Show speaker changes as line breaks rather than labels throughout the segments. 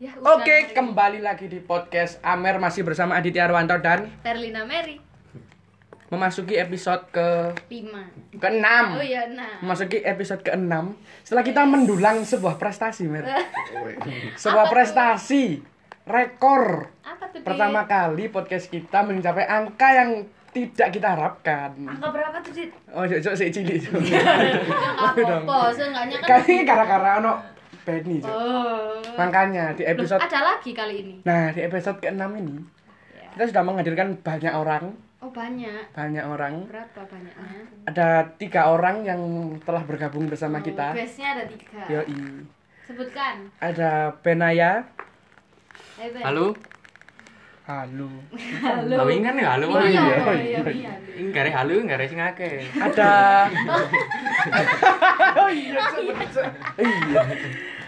Ya,
Oke, kembali lagi di podcast Amer masih bersama Aditya Arwanto dan
Perlina Mary
memasuki episode ke
5
ke-6.
Oh iya nah
Memasuki episode ke-6 setelah kita mendulang sebuah prestasi, Mer. sebuah prestasi rekor.
Apa tuh Dit?
Pertama kali podcast kita mencapai angka yang tidak kita harapkan.
Angka berapa tuh Dit?
Oh, cocok si cilik. Cuk.
Iya. Nggak apa-apa seenggaknya kan
Kali gara-gara ono Benny, Cuk.
Oh
Makanya di
Loh, ah.
episode
ada lagi kali ini
Nah, di episode ke-6 ini
Iya.
kita sudah menghadirkan banyak orang,
Oh banyak
banyak orang.
Berapa banyaknya?
Ada tiga orang yang telah bergabung bersama
Oh,
kita.
Guestnya ada tiga
Yoi.
Sebutkan Eh,
Ada Benaya.
Ayo, Ben.
Halo,
Halo.
Halo
tapi kan ya halo
Iya,
aja.
oh, iya, iya.
Ini gak ada halo, gak ada sing akeh.
Ada Oh iya, sebut- se- iya.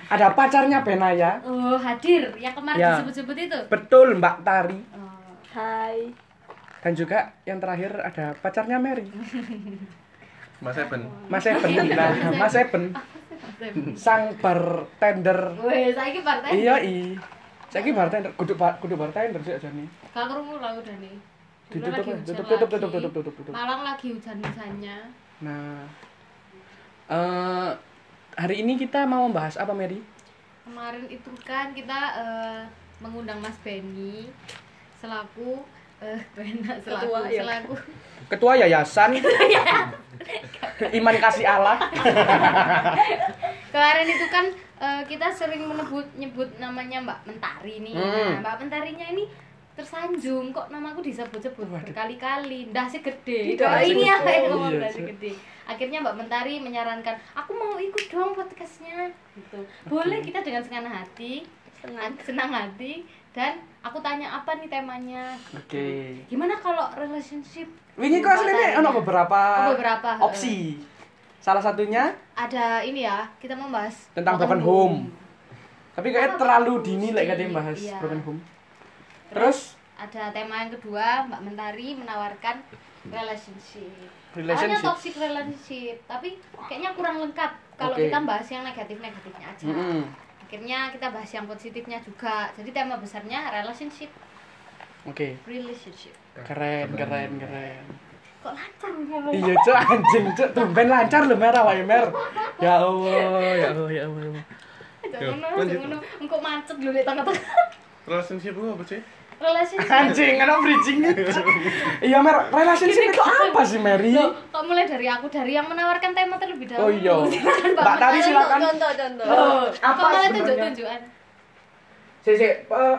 Ada pacarnya Benaya.
Oh hadir yang kemarin
Ya.
disebut-sebut itu
Betul, Mbak Tari.
Oh,
Hai.
Dan juga yang terakhir ada pacarnya Mary.
Mas Eben.
Mas Eben. Nah, Mas Eben
Dem.
sang bartender.
Weh, saya partai
Iya, i. Saiki bartender kudu bar- kudu bartender sih aja nih.
Gak kerungu lah udah nih Dulu
Ditutup,
lagi
ya.
hujan
tutup, tutup,
lagi.
tutup, tutup, tutup, tutup.
Malang lagi hujan-hujannya
Nah, eh hari ini kita mau membahas apa, Mary?
kemarin itu kan kita eh, mengundang Mas Benny selaku eh Bena selaku
Ketua, ya.
selaku
Ketua Yayasan Iman Kasih Allah.
kemarin itu kan eh, kita sering menyebut nyebut namanya Mbak Mentari nih
Hmm.
nah, Mbak Mentarinya ini tersanjung kok namaku disebut-sebut
Waduh.
berkali-kali ndase gede
Tidak,
Kok
ndase
ini
gede.
apa yang ngomong
Iya,
ndase
Cuk.
gede akhirnya Mbak Mentari menyarankan aku mau ikut dong podcastnya gitu boleh kita dengan senang hati senang, senang hati dan aku tanya apa nih temanya
Oke.
gimana kalau relationship
Wingi kok asli nih, ono beberapa,
Oh, beberapa, heeh.
opsi. Salah satunya
ada ini ya kita mau bahas
tentang broken home. Tapi kayaknya
Apa
terlalu
bagus
dini
sih?
lah katanya bahas
Iya.
broken home. Terus
ada tema yang kedua Mbak Mentari menawarkan relationship awalnya
relationship.
toxic relationship tapi kayaknya kurang lengkap kalau
Oke.
kita bahas yang negatif negatifnya aja
Mm-mm.
akhirnya kita bahas yang positifnya juga jadi tema besarnya relationship
Oke.
relationship
Keren, keren, keren.
kok lancar ngomong
Iya, cok anjing, cok tumben lancar lho merah wae mer. Ya Allah, ya Allah, ya Allah. ya Allah.
jangan ngono
lanjut.
jangan ngono engkau macet dulu di tengah-tengah
Relationship gue apa sih?
relationship
Anjing, ana bridging-nya. Iya, Mer, relationship itu apa sih, Mary?
Loh, kok mulai dari aku dari yang menawarkan tema terlebih dahulu.
Oh iya.
Silakan, Mbak
Mbak Tari
Mentari.
silakan.
Contoh-contoh.
Eh,
Apa malah
sebenarnya?
tunjuk-tunjukan?
Si, si, eh,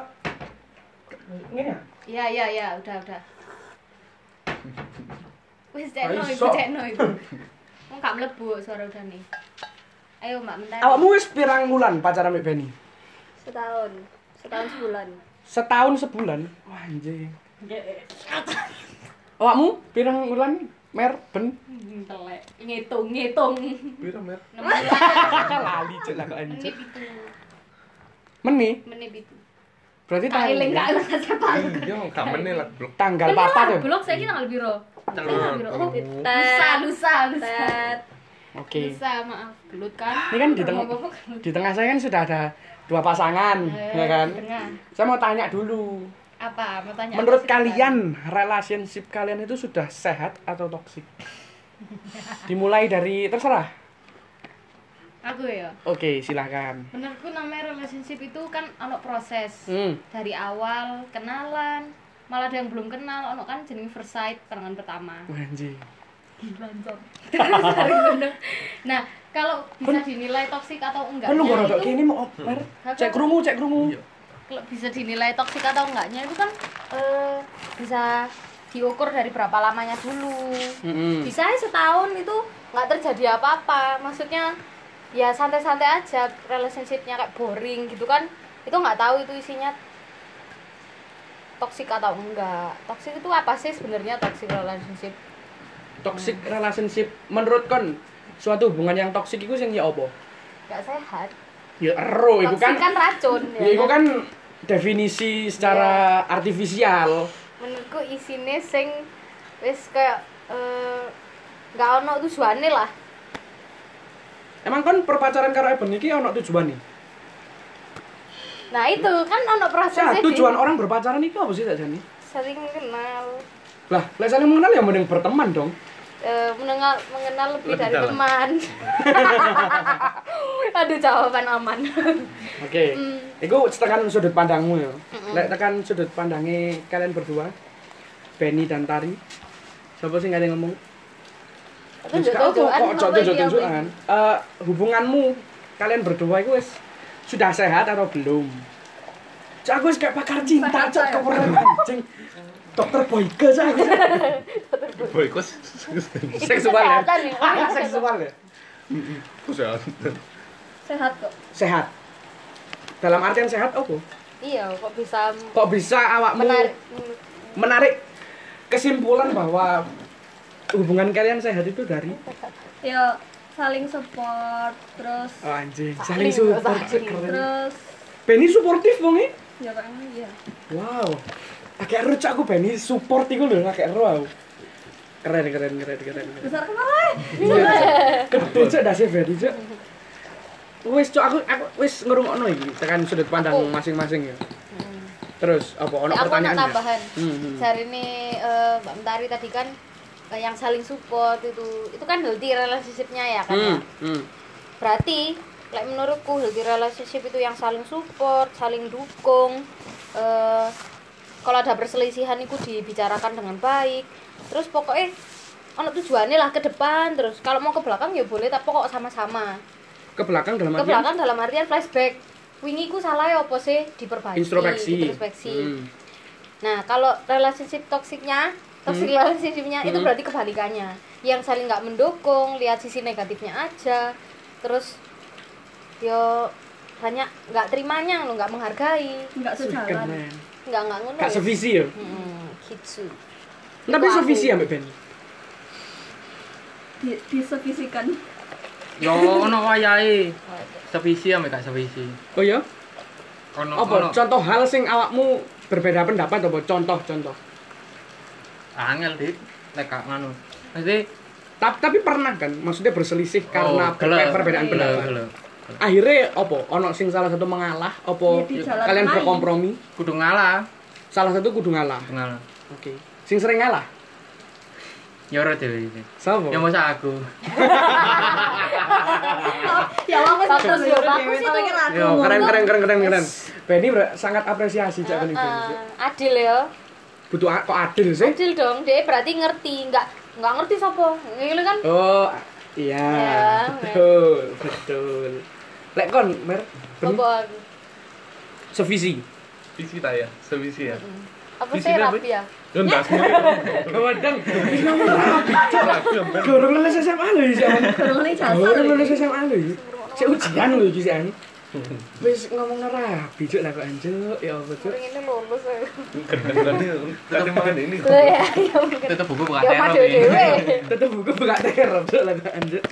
Ngene ya?
Iya, iya, iya, udah, udah. Wis
Ayo,
cekno iku,
sok.
cekno iku. Wong gak mlebu suara udah nih. Ayo Mbak Mentari.
Awakmu wis pirang wulan pacaran mbek Beni?
Setahun. Setahun sebulan.
Setahun sebulan. Wah, anjing. Awakmu pirang wulan, Mer, Ben?
Hmm, telek. Ngitung, ngitung.
Bira mer.
Lali cek lah kok anjing.
Menit itu,
Meni,
menit itu.
berarti
Tak eling, gak
tanggal
eling siapa.
Iya, gak meneh lah, Bro.
tanggal
Kan
papa
kita
tuh.
blok saiki tanggal piro? Tanggal piro? Oh, Lusa,
Tet.
lusa, lusa.
Tet.
Oke.
Lusa, maaf. Gelut kan?
Ini kan di tengah
Ngomong-ngomong gelut.
di tengah saya kan sudah ada dua pasangan,
Eh,
ya kan?
Tengah.
Saya mau tanya dulu.
apa mau tanya apa
Menurut
sih, Kak?
kalian, relationship kalian itu sudah sehat atau toksik? Dimulai dari terserah.
aku ya
Oke, silahkan.
menurutku namanya relationship itu kan ono proses
Hmm.
dari awal kenalan malah ada yang belum kenal ono kan jenenge first sight pandangan pertama
Wah, Anjing.
Terus dari mana? nah kalau bisa dinilai toksik atau enggaknya
Kan lu gak rodok
itu
kini mau mer. Cek krungu, cek krungu.
kalau bisa dinilai toksik atau enggaknya itu kan eh, bisa diukur dari berapa lamanya dulu
Mm-mm.
bisa aja setahun itu nggak terjadi apa-apa maksudnya ya santai-santai aja relationshipnya kayak boring gitu kan itu nggak tahu itu isinya toksik atau enggak toksik itu apa sih sebenarnya toxic relationship
Toxic relationship menurut kon suatu hubungan yang toksik itu sing ya apa?
nggak sehat
Ya ero
toksik
itu
kan,
kan.
racun
Ya itu kan definisi secara artifisial.
menurutku isine sing wis kayak eh, nggak ono tujuannya lah
Emang kan perpacaran karo Eben iki ono tujuan nih?
Nah itu kan ono
Nah,
prosesnya
tujuan
di-
orang berpacaran itu apa sih tak jani?
sering kenal
Lah, lek saling mengenal ya mending berteman dong.
eh, mengenal mengenal lebih,
Lebih
dari
dalam.
teman. Aduh jawaban aman.
Oke. Iku tekan sudut pandangmu ya. Lek tekan sudut pandangnya kalian berdua, Benny dan Tari. Siapa sih nggak ada yang ngomong?
Itu
Terus kau kok
jodoh-jodohan apa
kok jodoh
iki, apa iki?
tunjukan? Eh hubunganmu kalian berdua itu wis sudah sehat atau belum? Cak aku wis kayak pakar cinta, cak kau pernah anjing. Dokter Boyke cak aku.
Boy, kok s-
Itu
Seksual ya.
kesehatan ya.
Ah, seksual ya.
kesehatan?
Sehat kok.
Sehat. Dalam artian sehat opo?
Iya, kok bisa
Kok bisa awakmu
menarik
menarik kesimpulan bahwa hubungan kalian sehat itu dari
ya saling support terus
oh, anjing saling support Keren.
terus
Benny suportif wong e.
ya kayak ngono ya
wow agak rucak aku Benny support iku lho agak ero aku keren keren keren keren keren.
besar kan, kemarin
Iya, Cuk. gede cok dasi Benny cok wis cok aku aku wis ngrungokno iki tekan sudut pandang
Aku.
masing-masing ya terus apa ono
Eh, Oh. Hmm. aku nak
pertanyaan nggak?
tambahan.
Hmm, hmm.
Sehari ini eh, Mbak Mentari tadi kan eh, yang saling support itu itu kan healthy relationship-nya ya kan. ya?
hmm, hmm.
Berarti like menurutku healthy relationship itu yang saling support, saling dukung. eh, kalau ada perselisihan itu dibicarakan dengan baik. Terus pokoknya ono tujuannya lah ke depan terus kalau mau ke belakang ya boleh tapi pokok sama-sama
ke belakang
ke
dalam artian
belakang dalam artian flashback wingi ku salah ya apa sih diperbaiki
introspeksi
Iya, introspeksi.
Hmm.
Nah, kalau relationship toksiknya, toxic relationship-nya itu berarti kebalikannya. Yang saling nggak mendukung, lihat sisi negatifnya aja. Terus yo hanya nggak terimanya, lo nggak menghargai,
nggak sejalan
keren
nggak nggak ngono.
Kak
ya.
sevisi ya
Mm-mm, gitu.
tapi
aku.
sevisi ya Mbak Benny
di, disevisikan
Yo ono wayahe. Sevisi ambek gak sevisi.
oh ya
Ono
apa contoh hal sing awakmu berbeda pendapat apa contoh contoh
angel dik nek gak nganu. Mesti
tapi tapi pernah kan maksudnya berselisih karena
oh, gelap,
perbedaan
gelap,
pendapat
gelap.
akhirnya apa ono sing salah satu mengalah apa
Iya,
Ya, di
Oh,
jalan
iya. kalian
lain.
berkompromi
Kudu ngalah,
salah satu kudu ngalah
kudu ngalah.
oke sing sering ngalah
Nyoro dhewe iki.
sapa
Ya masa aku.
ya aku
Bagus ya, bagus
sih pengen
itu.
aku
Yo, keren
ngono.
keren keren keren keren Benny ber- sangat apresiasi cak Benny
Eh, adil ya.
butuh a- kok adil sih
Adil dong, dia berarti ngerti, nggak nggak ngerti sapa. Ngene kan
oh iya
Ya,
betul betul lek kon mer Benny,
apa
sevisi
Visi kita ya, sevisi ya.
apa
Di
sih
sini apa?
rapi ya?
Enggak,
Kewedeng, wis ngomong rapi. Gorong lulus SMA lho iki. Jan.
Kurang ini ya. jasa
Gorong
lho.
lulus SMA lho iki. Sik ujian lho iki sik. Wis ngomong rapi cuk lah kok anjuk ya apa cuk.
Mending ini lulus ya.
Tadi makan ini.
Loh, ya, ya mungkin.
Tutup buku buka
Ya
terop.
madu dewe.
Tetep buku buka terop cuk lah kok anjuk.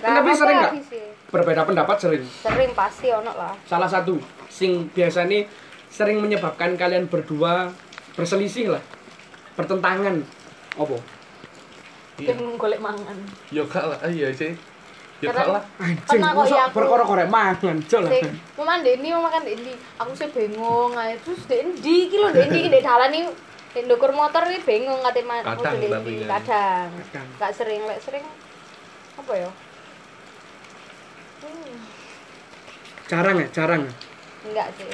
Nah,
Tapi
apa
sering nggak?
lagi sih?
Berbeda pendapat sering.
Sering pasti ono lah.
Salah satu sing biasanya sering menyebabkan kalian berdua berselisih lah. Pertentangan. Opo?
Iya.
Yang golek mangan.
Yo kak lah, iya sih. Yo kak
Karena-
lah.
Anjing,
Pernah kok ya
mosok
aku.
perkara-kara mangan cuk lah.
Sing mau mandeni mau makan dendi. Aku sih bengong ae terus dendi iki lho dendi di dalan iki di ndukur motor iki bengong kate ma- mau
Kadang,
dendi.
tapi ya.
Kadang.
Kadang.
Enggak sering, lek sering apa ya? Hmm,
Jarang ya, jarang. ya?
Enggak sih.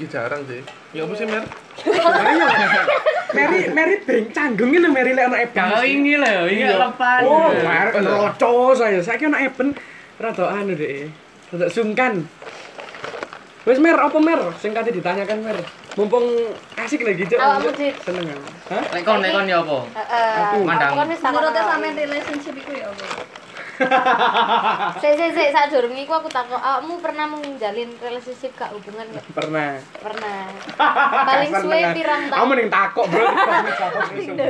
Iya jarang sih. Ya apa sih mer?
Mary, Mary beng canggung lho Mary lek ana Eben.
Kalau ini lho, ini lepas.
Oh, Mary roco saya. Saiki ana Eben rada anu deh. Rada sungkan. Wis Mer, apa Mer? Sing kate ditanyakan Mer. Mumpung asik lagi cok.
Awakmu, Dik.
Seneng aku. Hah?
Nek kon nek kon ya apa?
Heeh. aku
Aku.
Mandang.
kan wis tak
menurutnya
takoni.
sampean relationship iku ya apa
Sik sik sik sadurunge iku aku takon, "Awakmu pernah menjalin relationship gak hubungan gak?"
Pernah.
Pernah. Paling
Kasar
suwe
tenan.
pirang
Aku
tahun?
mending takok, Bro.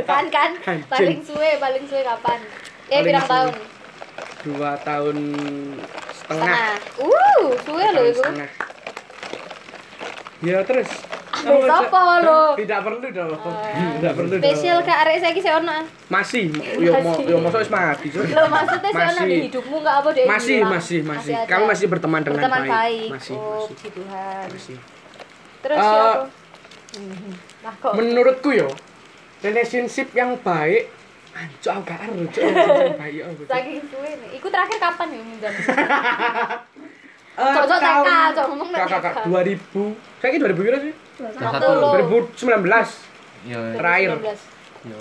Kan kan
Anjing.
paling suwe paling suwe kapan? Eh
Paling
pirang
suwe.
tahun?
Dua tahun setengah.
Setengah. Uh, suwe lho
Tahun
iku.
setengah. Ya terus
Ben sapa lo?
Tidak perlu dong. Tidak perlu dong.
Oh, iya. Spesial ke arek saiki sik ono. ah.
Masih, yo mo, yo mosok wis mati, Cuk.
Lho maksudnya sik ono
Masih.
di hidupmu enggak apa deh.
Masih, masih, masih.
ada.
Kami masih berteman dengan
berteman
baik.
baik.
Masih,
oh,
masih.
puji Tuhan.
Masih.
Terus
Eh,
ya apa? Hmm, Nah kok
Menurutku yo, relationship yang baik Anjuk aku gak ero, Cuk. Relationship yang baik yo, aku, Cuk.
saking suwe nih. Iku terakhir kapan ya minjam?
Eh,
Cok, cok,
tahun-
TK, cok, ngomong nek
Kakak, kakak,
TK.
2000. Saya 2000 kira sih.
Satu.
Loh.
2019.
Yo.
Terakhir.
2019.
Yo.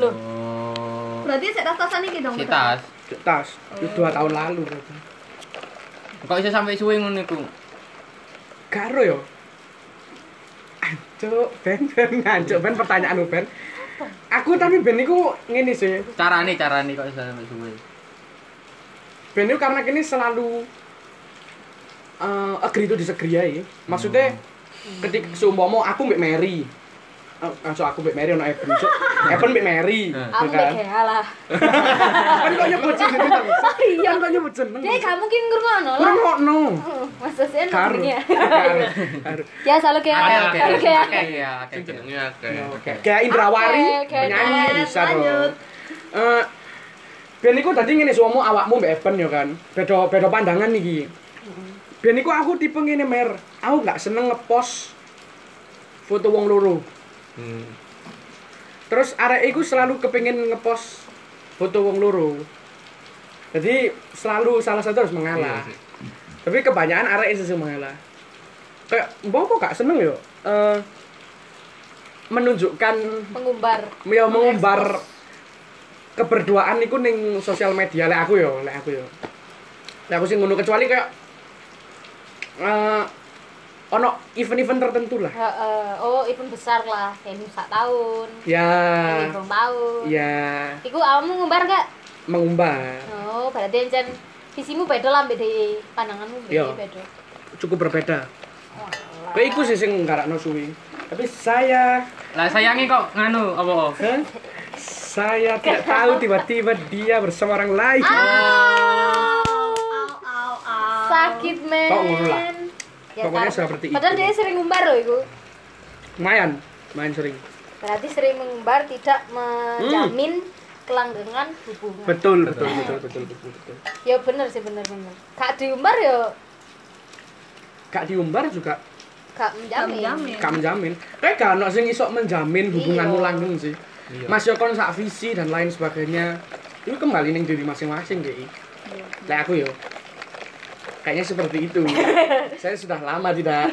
Berarti saya ratasan iki dong.
Sitas.
Tas. Itu 2 tahun lalu. berarti.
Kok iso sampai suwe ngono iku?
Karo yo. Ancuk, ben ben ngancuk ben pertanyaan lu ben. Aku tapi ben niku ngene sih.
Carane carane kok iso sampai suwe.
Ben niku karena kini selalu eh agree to disagree ae. Maksudnya
Hmm.
ketika seumpama aku mbek Mary. Eh, Langsung aku mbek Mary ono Eben. Cuk. Eben mbek Mary.
Eh.
Aku
Bukan.
mbek lah.
Kan kok nyebut jeneng. Kan kok nyebut jeneng.
Oh iya. Dia gak mungkin ngrungokno lah.
Ngrungokno.
Masa sih
Karo.
nomornya.
Karo. Karo.
Ya selalu kayak
Oke
kayak
oke.
kayak
Oke
kayak
ya.
Sing
Oke.
jenenge akeh.
Oke. Kayak Indrawari
Oke, oke,
penyanyi
oke.
bisa
Lanjut.
dong. Eh ben iku tadi ngene suamu awakmu Mbak Eben ya kan. Beda beda pandangan iki. Ben iku aku tipe ngene mer. Aku nggak seneng ngepost foto wong loro.
Hmm.
Terus arek iku selalu kepengin ngepost foto wong loro. Jadi selalu salah satu harus mengalah.
Iya sih.
Tapi kebanyakan arek itu sih mengalah. Kayak mbok kok gak seneng yo. Eh menunjukkan
mengumbar.
ya mengumbar keberduaan niku ning sosial media lek aku yo lek aku yo lek aku sih ngono kecuali kayak eh ono event-event tertentu lah
Heeh. Oh, event besar lah, kayak sak tahun,
ya
kayak rong tahun.
ya
Iku awakmu ngumbar gak?
mengumbar
Oh, berarti encen visimu beda lah mbek dhewe, pandanganmu mbek
Iya.
dhewe beda.
cukup berbeda kayak iku sih sing nggarakno suwi tapi saya
Lah sayangi kok nganu apa?
eh, saya tidak tahu tiba-tiba dia bersama orang lain
Ah.
Au au au.
Sakit, men.
Kok ngono lah?
Ya,
Pokoknya
tar-
seperti itu.
Padahal dia sering ngumbar loh iku.
lumayan main sering
Berarti sering mengumbar tidak menjamin
Hmm.
kelanggengan hubungan.
betul betul betul betul betul, betul.
Ya bener sih bener bener. Kak diumbar ya
gak diumbar juga
gak menjamin.
Jamin.
gak menjamin kayak gak ono sing iso menjamin hubunganmu
Iya.
langgeng sih mas yo kon sak visi dan lain sebagainya itu kembali ning diri masing-masing
Iya.
deh lek aku yo kayaknya seperti itu saya sudah lama tidak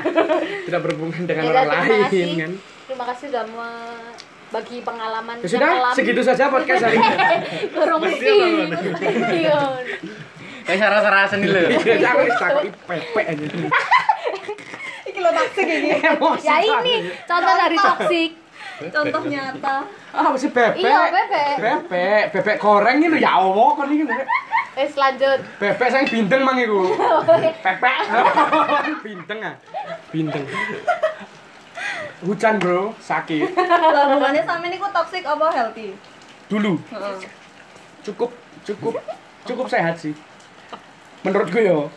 tidak berhubungan dengan
Ya,
orang
terima kasih.
lain kan
Terima kasih sudah membagi pengalaman.
ya sudah segitu saja podcast hari ini
Gorong mesti. Iya. Mesti, Yon.
Kayak saras-sarasen iki lho.
Ya, aku wis takoki pepek aja
Iki lo toksik iki.
emosi
Ya ini contoh dari toksik.
Contoh nyata.
ah masih bebek
Iya, bebek.
bebek bebek goreng ini lho, ya Allah kon ini lho.
Wes lanjut.
bebek saya bintang mang iku pepek bintang ah bintang hujan bro sakit
Lah hubungannya sama ini ku toksik apa healthy?
dulu
Heeh.
cukup cukup cukup sehat sih menurutku yo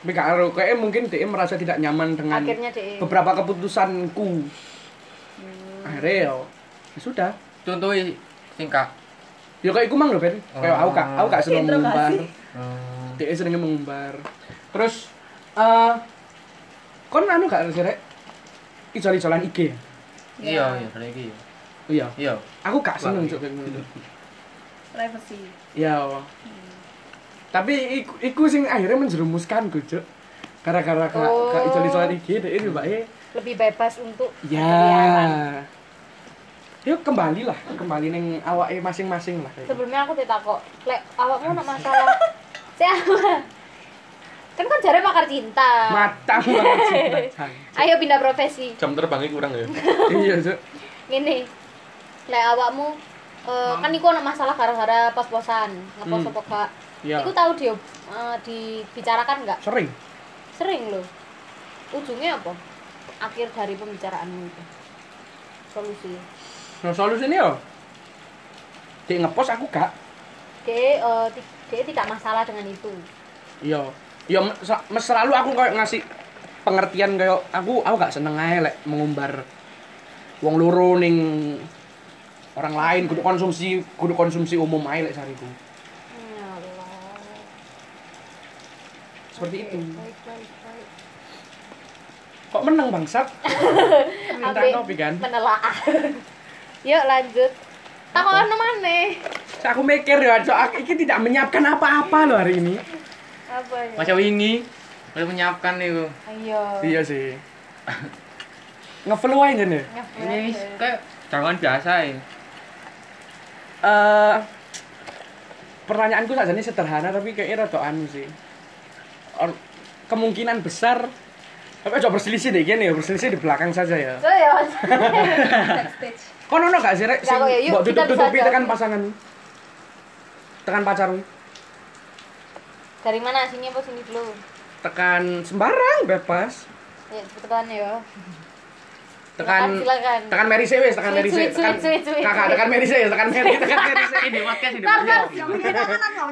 tapi gak ero. kayaknya mungkin dia merasa tidak nyaman dengan
Akhirnya dia-
beberapa keputusanku akhirnya yo ya sudah
Contohe singkat.
yo kayak iku mang lho Ben kayak aku gak aku gak seneng
Interogasi.
mengumbar
Hmm.
dia seringnya mengumbar terus eh kon anu gak sih ijol-ijolan IG
Iya, iya, kali iki.
iya
Iya.
aku gak seneng cok kayak ngono.
Privacy.
iya wah. tapi iku, iku sing akhirnya menjerumuskan gue cok gara-gara ke,
Oh.
ke ijol-ijolan IG dia itu mbak E.
Lebih bebas untuk
ya
berkeliaran.
yuk kembali lah kembali neng awake masing-masing lah kayak.
Sebelumnya aku ditakok, lek awakmu nak masalah siapa? Kan kan jare pakar cinta.
matang banget cinta Cang.
Ayo pindah profesi.
Jam terbangnya kurang ya.
iya cok
Ngene. Lek awakmu eh, kan iku ana masalah gara-gara pos-posan, ngepost
Hmm.
apa gak.
Iya.
Iku tahu dia eh, dibicarakan nggak?
sering
Sering loh. Ujungnya apa? Akhir dari pembicaraanmu itu. Solusi.
nah solusinya yo dia ngepost aku gak
Dia, eh, ti- dia tidak masalah dengan itu.
Iya. Ya me- se- me- selalu aku kayak ngasih pengertian kayak aku aku gak seneng ae lek mengumbar wong loro ning orang lain kudu konsumsi kudu konsumsi umum ae lek sariku.
Ya Allah.
Seperti itu.
Baik, baik, baik.
Kok menang bangsat? Minta
Ape
kopi kan.
Menelaah. Yuk lanjut. anu Takon maneh.
Saya aku mikir ya, so, aku ini tidak menyiapkan apa-apa loh hari ini.
Apa ya?
Masa wingi udah menyiapkan itu.
Ayo.
Iya sih. Ngeflow aja nih.
Ini wis kayak jangan biasa ya.
Eh, pertanyaanku saja ini sederhana tapi kayaknya rada anu sih. Or- kemungkinan besar tapi coba berselisih deh gini ya, berselisih di belakang saja ya.
So ya.
backstage
Kono ono gak sih rek sing
Nggak kok ya, yuk,
mbok
kita bisa
tutup-tutupi
jawab.
tekan pasangan. Tekan pacarmu,
Dari mana sini apa sini dulu?
tekan sembarang bebas.
Ya cepetan ya.
Tekan
silakan.
tekan Mary C wis, tekan
Sweet,
Mary C.
sweet,
Tekan
sweet, sweet, sweet.
kakak tekan Mary C, tekan Mary, tekan Mary C.
Ini podcast ini.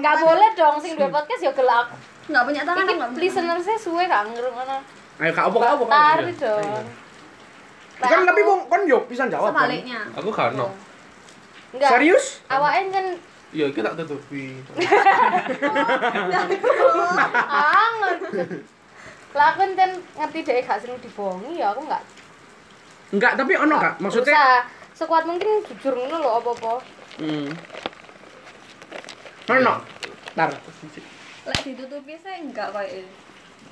Enggak boleh dong sing dua podcast ya gelak.
nggak punya tangan
Ini
nggak punya
listener saya suwe gak ngerungono.
Ayo kak opo kak opo. Kak.
Tarik dong.
Kan tapi wong kon yo bisa jawab. kan?
sebaliknya
Aku karno.
Enggak.
Serius?
Awaknya kan
Iya, kita tutupi.
anget. Lah aku kan ngerti dhek gak seneng dibohongi ya aku gak
Enggak, tapi ono kak. Maksudnya
berusaha sekuat mungkin jujur ngono lho apa-apa.
Hmm. Ono. Tar.
lek ditutupi saya enggak kayak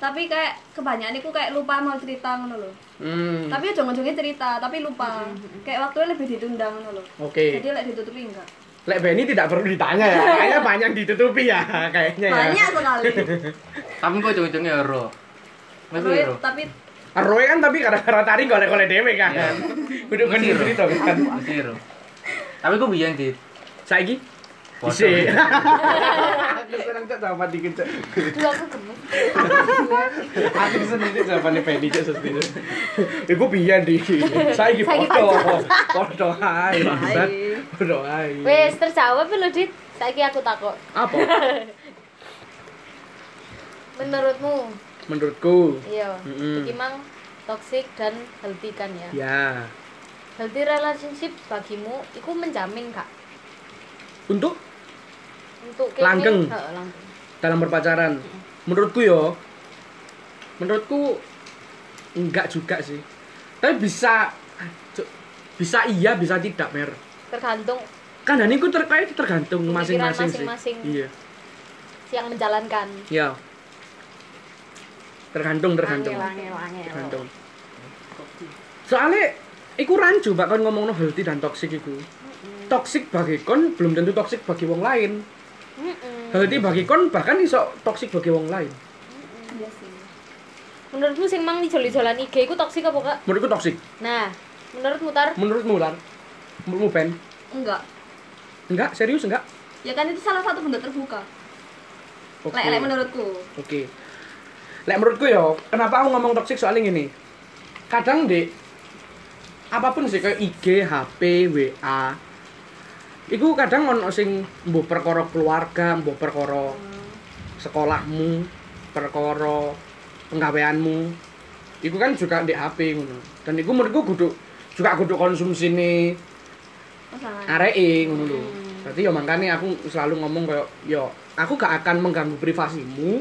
tapi kayak kebanyakan aku kayak lupa mau cerita ngono lho.
Hmm.
Tapi ujung-ujungnya cerita, tapi lupa. Kayak waktunya lebih ditunda ngono lho.
Oke.
Jadi lek ditutupi enggak.
Lek Benny tidak perlu ditanya ya. Kayaknya banyak ditutupi ya kayaknya ya.
Banyak sekali.
Tapi kok ujung-ujungnya ero. Mas
Tapi-
ero.
tapi
Roy kan tapi gara-gara taring golek-golek dhewe kan.
Iya.
Kudu kan
Mesir.
cerita kan.
Mas ero. Tapi kok biyen dit.
Saiki
Foto.
Isi. Aku seneng cok jawaban dikit cok.
Dulu aku gemes.
Aku seneng cok jawabannya Benny cok sesti. Iku piye di? Saiki foto. Foto ae. bangsat. Foto ae.
Wes terjawab lho Dit. Saiki aku takut.
Apa?
Menurutmu,
Menurutku.
iya,
Mm-mm.
iki mang toxic dan healthy kan ya.
Ya.
Healthy relationship bagimu iku menjamin gak
Untuk
untuk
Langgeng.
Heeh, langgeng.
dalam berpacaran menurutku yo menurutku enggak juga sih tapi bisa Cuk, bisa iya bisa tidak mer
Tergantung
kan dan itu terkait tergantung
Pemikiran
masing-masing sih
masing-masing.
iya
siang menjalankan.
ya tergantung tergantung
Angel, angel, angel.
tergantung soalnya iku rancu bakal ngomong healthy dan toksik iku toksik bagi kon belum tentu toksik bagi wong lain
Mm-mm.
healthy bagi kon bahkan iso toksik bagi wong lain
iya sih.
Menurutmu sing mang ijol-ijolan IG iku toksik apa gak?
menurutku toksik
Nah, menurutmu tar
menurutmu lan menurutmu Ben
Enggak.
enggak serius enggak
Ya kan itu salah satu bentuk terbuka.
oke
Lek lek menurutku.
oke lek menurutku yo kenapa aku ngomong toksik soalnya gini kadang dek apapun sih kayak IG HP WA Iku kadang ono sing mbuh perkara keluarga, mbuh perkara
Hmm.
sekolahmu, perkara penggaweanmu. Iku kan juga di HP ngono. Dan iku menurutku kudu juga kudu konsumsi nih
Pasangan.
Ah. aree ngono lho. Berarti ya makanya aku selalu ngomong kayak yo aku gak akan mengganggu privasimu,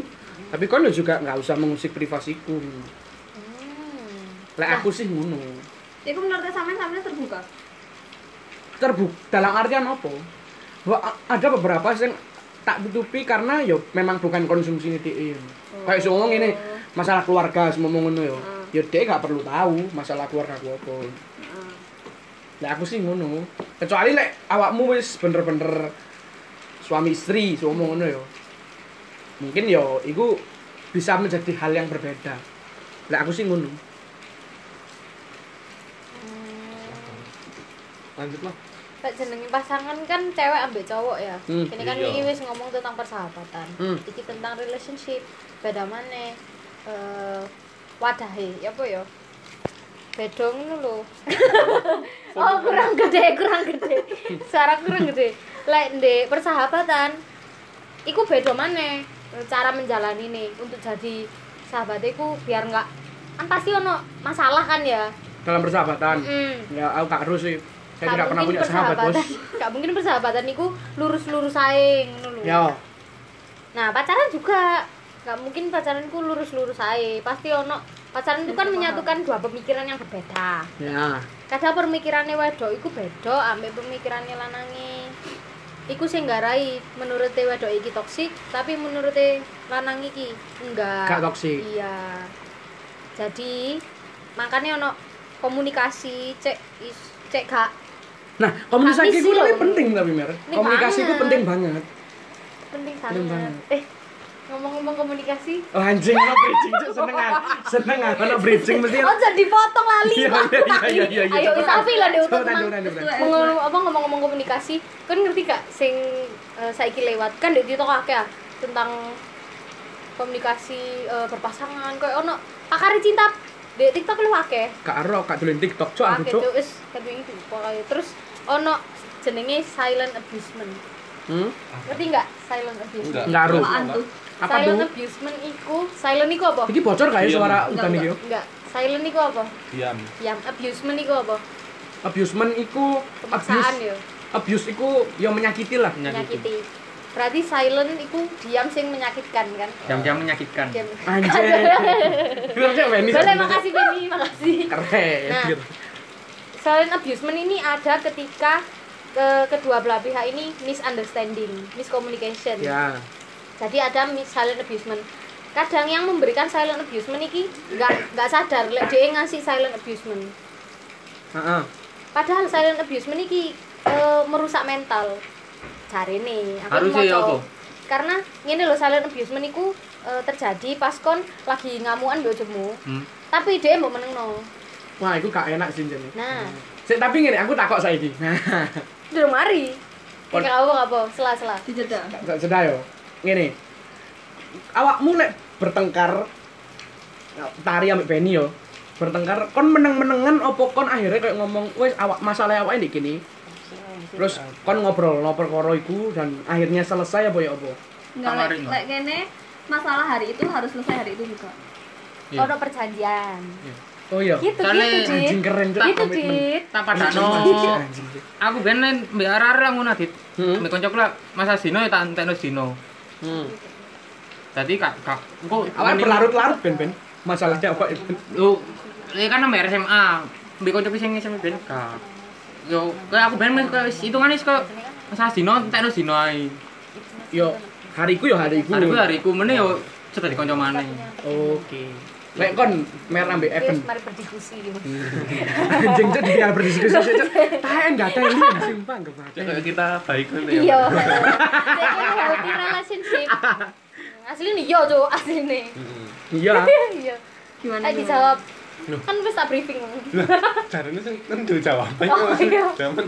tapi kon yo juga nggak usah mengusik privasiku.
Hmm.
Lek aku sih ngono.
Ya aku menurutnya sampean sampean terbuka.
Terbuk dalam artian apa? Wa- a- ada beberapa yang tak tutupi karena yo memang bukan konsumsi ini Kayak si ngomong ini masalah keluarga semua ngono yo. Yo dia gak perlu tahu masalah keluarga aku apa. Ah.
Heeh.
Lah aku sih ngono. Kecuali lek awakmu wis bener-bener suami istri, suami ngono ya. Mungkin ya iku bisa menjadi hal yang berbeda. Lah aku sih ngono.
Hmm.
Lanjut lah.
Pak jenenge pasangan kan cewek ambek cowok ya.
Hmm,
Ini kan
iya.
iki wis ngomong tentang persahabatan.
Hmm.
Iki tentang relationship. Beda maneh eh wadahe ya apa ya? Beda ngono lho. oh, kurang gede, kurang gede. Suara kurang gede. Lek ndek persahabatan iku beda maneh eh, cara menjalani nih untuk jadi sahabat iku biar nggak kan pasti ono masalah kan ya
dalam persahabatan
Mm.
ya aku gak terus sih saya
Gak
tidak pernah
mungkin
punya sahabat bos
persahabatan- Gak mungkin persahabatan niku lurus-lurus ae ngono lho.
ya
Nah, pacaran juga nggak mungkin pacaranku lurus-lurus ae. Pasti ono pacaran itu kan menyatukan dua pemikiran yang berbeda.
ya
Kadang pemikirannya wedok iku beda ambek pemikirannya lanangi. Iku sing nggarai menurut wedok iki toksik, tapi menurut lanang iki enggak.
Gak toksik.
Iya. Jadi makanya ono komunikasi cek is- cek gak
nah komunikasi
Tapi
itu
sih,
tapi
loh.
penting tapi mer
Ini
komunikasi itu
banget.
penting banget
penting
Penting
sangat. Eh, ngomong-ngomong komunikasi,
oh, anjing ono bridging Cuk. seneng ah seneng ah ono bridging mesti
Oh jadi potong lali.
Iya, iya, iya, iya, iya.
Ayo wis api lah dhewe
Coba
teman.
tanjuran, tanjuran.
Ngomong apa ngomong-ngomong komunikasi, kan ngerti gak sing eh, saiki lewat kan di TikTok akeh ah, tentang komunikasi eh, berpasangan koyo ono pakar cinta di TikTok lu akeh.
Kak Aro, Kak Dulin TikTok, cok aku
Akeh
cok.
tuh wis kadung iki pokoke. Terus ono jenenge silent abusement.
Hmm?
Ngerti gak silent abusement?
Enggak.
Ngaruh.
Apaan tuh?
Apa
Silent
tuh?
abusement iku, silent iku apa?
Iki bocor kayak
Diam.
suara
Enggak,
udan iki yo.
Enggak, silent iku apa?
Diam.
Yang abusement iku apa?
Abusement iku
Pemaksaan
abuse.
yo.
Abuse iku ya menyakiti lah.
menyakiti
menyakiti. Berarti silent itu diam sing menyakitkan kan?
jam-jam menyakitkan
Diam.
Anjir. Itu cok Wendy.
Boleh, makasih Benny, makasih.
Keren.
Nah.
gitu.
Silent abusement ini ada ketika ke- kedua belah pihak ini misunderstanding, miscommunication.
Ya.
Jadi ada mis- silent abusement. Kadang yang memberikan silent abusement ini nggak nggak sadar, lek dia ngasih silent abusement.
Heeh.
Padahal silent abusement ini eh, merusak mental. Cari nih, aku
Harusnya ya
moco.
apa?
Karena ngene lho silent abusement iku eh, terjadi pas kon lagi ngamuan mbek bojomu,
Hmm.
tapi dia mau menengno.
Wah, iku gak enak sih jane.
Nah,
Sik tapi ngene aku takok saiki. Nah,
durung mari.
Kon-
Kayak apa apa, sela-sela.
Dijeda.
gak sedah yo. oh. Ngene. Awakmu lek bertengkar tari ambek Benny yo. Bertengkar kon meneng-menengan opo kon akhirnya kayak ngomong wes awak masalah awake ndek kene. Terus kon ngobrol no perkara iku dan akhirnya selesai apa ya apa?
Enggak
Kamar
lek
ini.
lek kene masalah hari itu harus selesai hari itu juga.
Iya.
Ono perjanjian.
Oh iya.
Gitu
Soalnya
gitu,
Anjing
Dit.
keren
Gitu,
komitmen.
Dit.
tak padakno
Anjing, Cuk.
aku ben lain mbek arah lah ngono dit
Hmm.
mbek kancaku lah masa dino ya tak entekno dino
Hmm.
dadi kak kak engko
Awak berlarut-larut ben ben. Masalahnya apa Ben?
lu ya kan nambah SMA mbek kancaku sing SMA ben kak yo kayak aku ben wis kayak wis hitungan wis kayak masa dino entekno dino ae
Yo hariku yo hariku.
hariku hariku meneh yo sudah dikonco maneh
Oke. Lek kon mer ambek Evan.
Yes, mari berdiskusi.
Anjing cek dia berdiskusi cek. Tahan gak tahan ini anjing bang
Ya, kayak kita baik kan ya.
Iya. Saya kira healthy relationship. Asli nih yo, Cuk, asli nih.
Mm-mm.
Iya.
Iya.
Gimana?
Eh
gimana?
dijawab.
Loh.
Kan wis tak briefing.
Lah, caranya sih kan dulu jawabannya.
Oh,
kok.
iya.
Zaman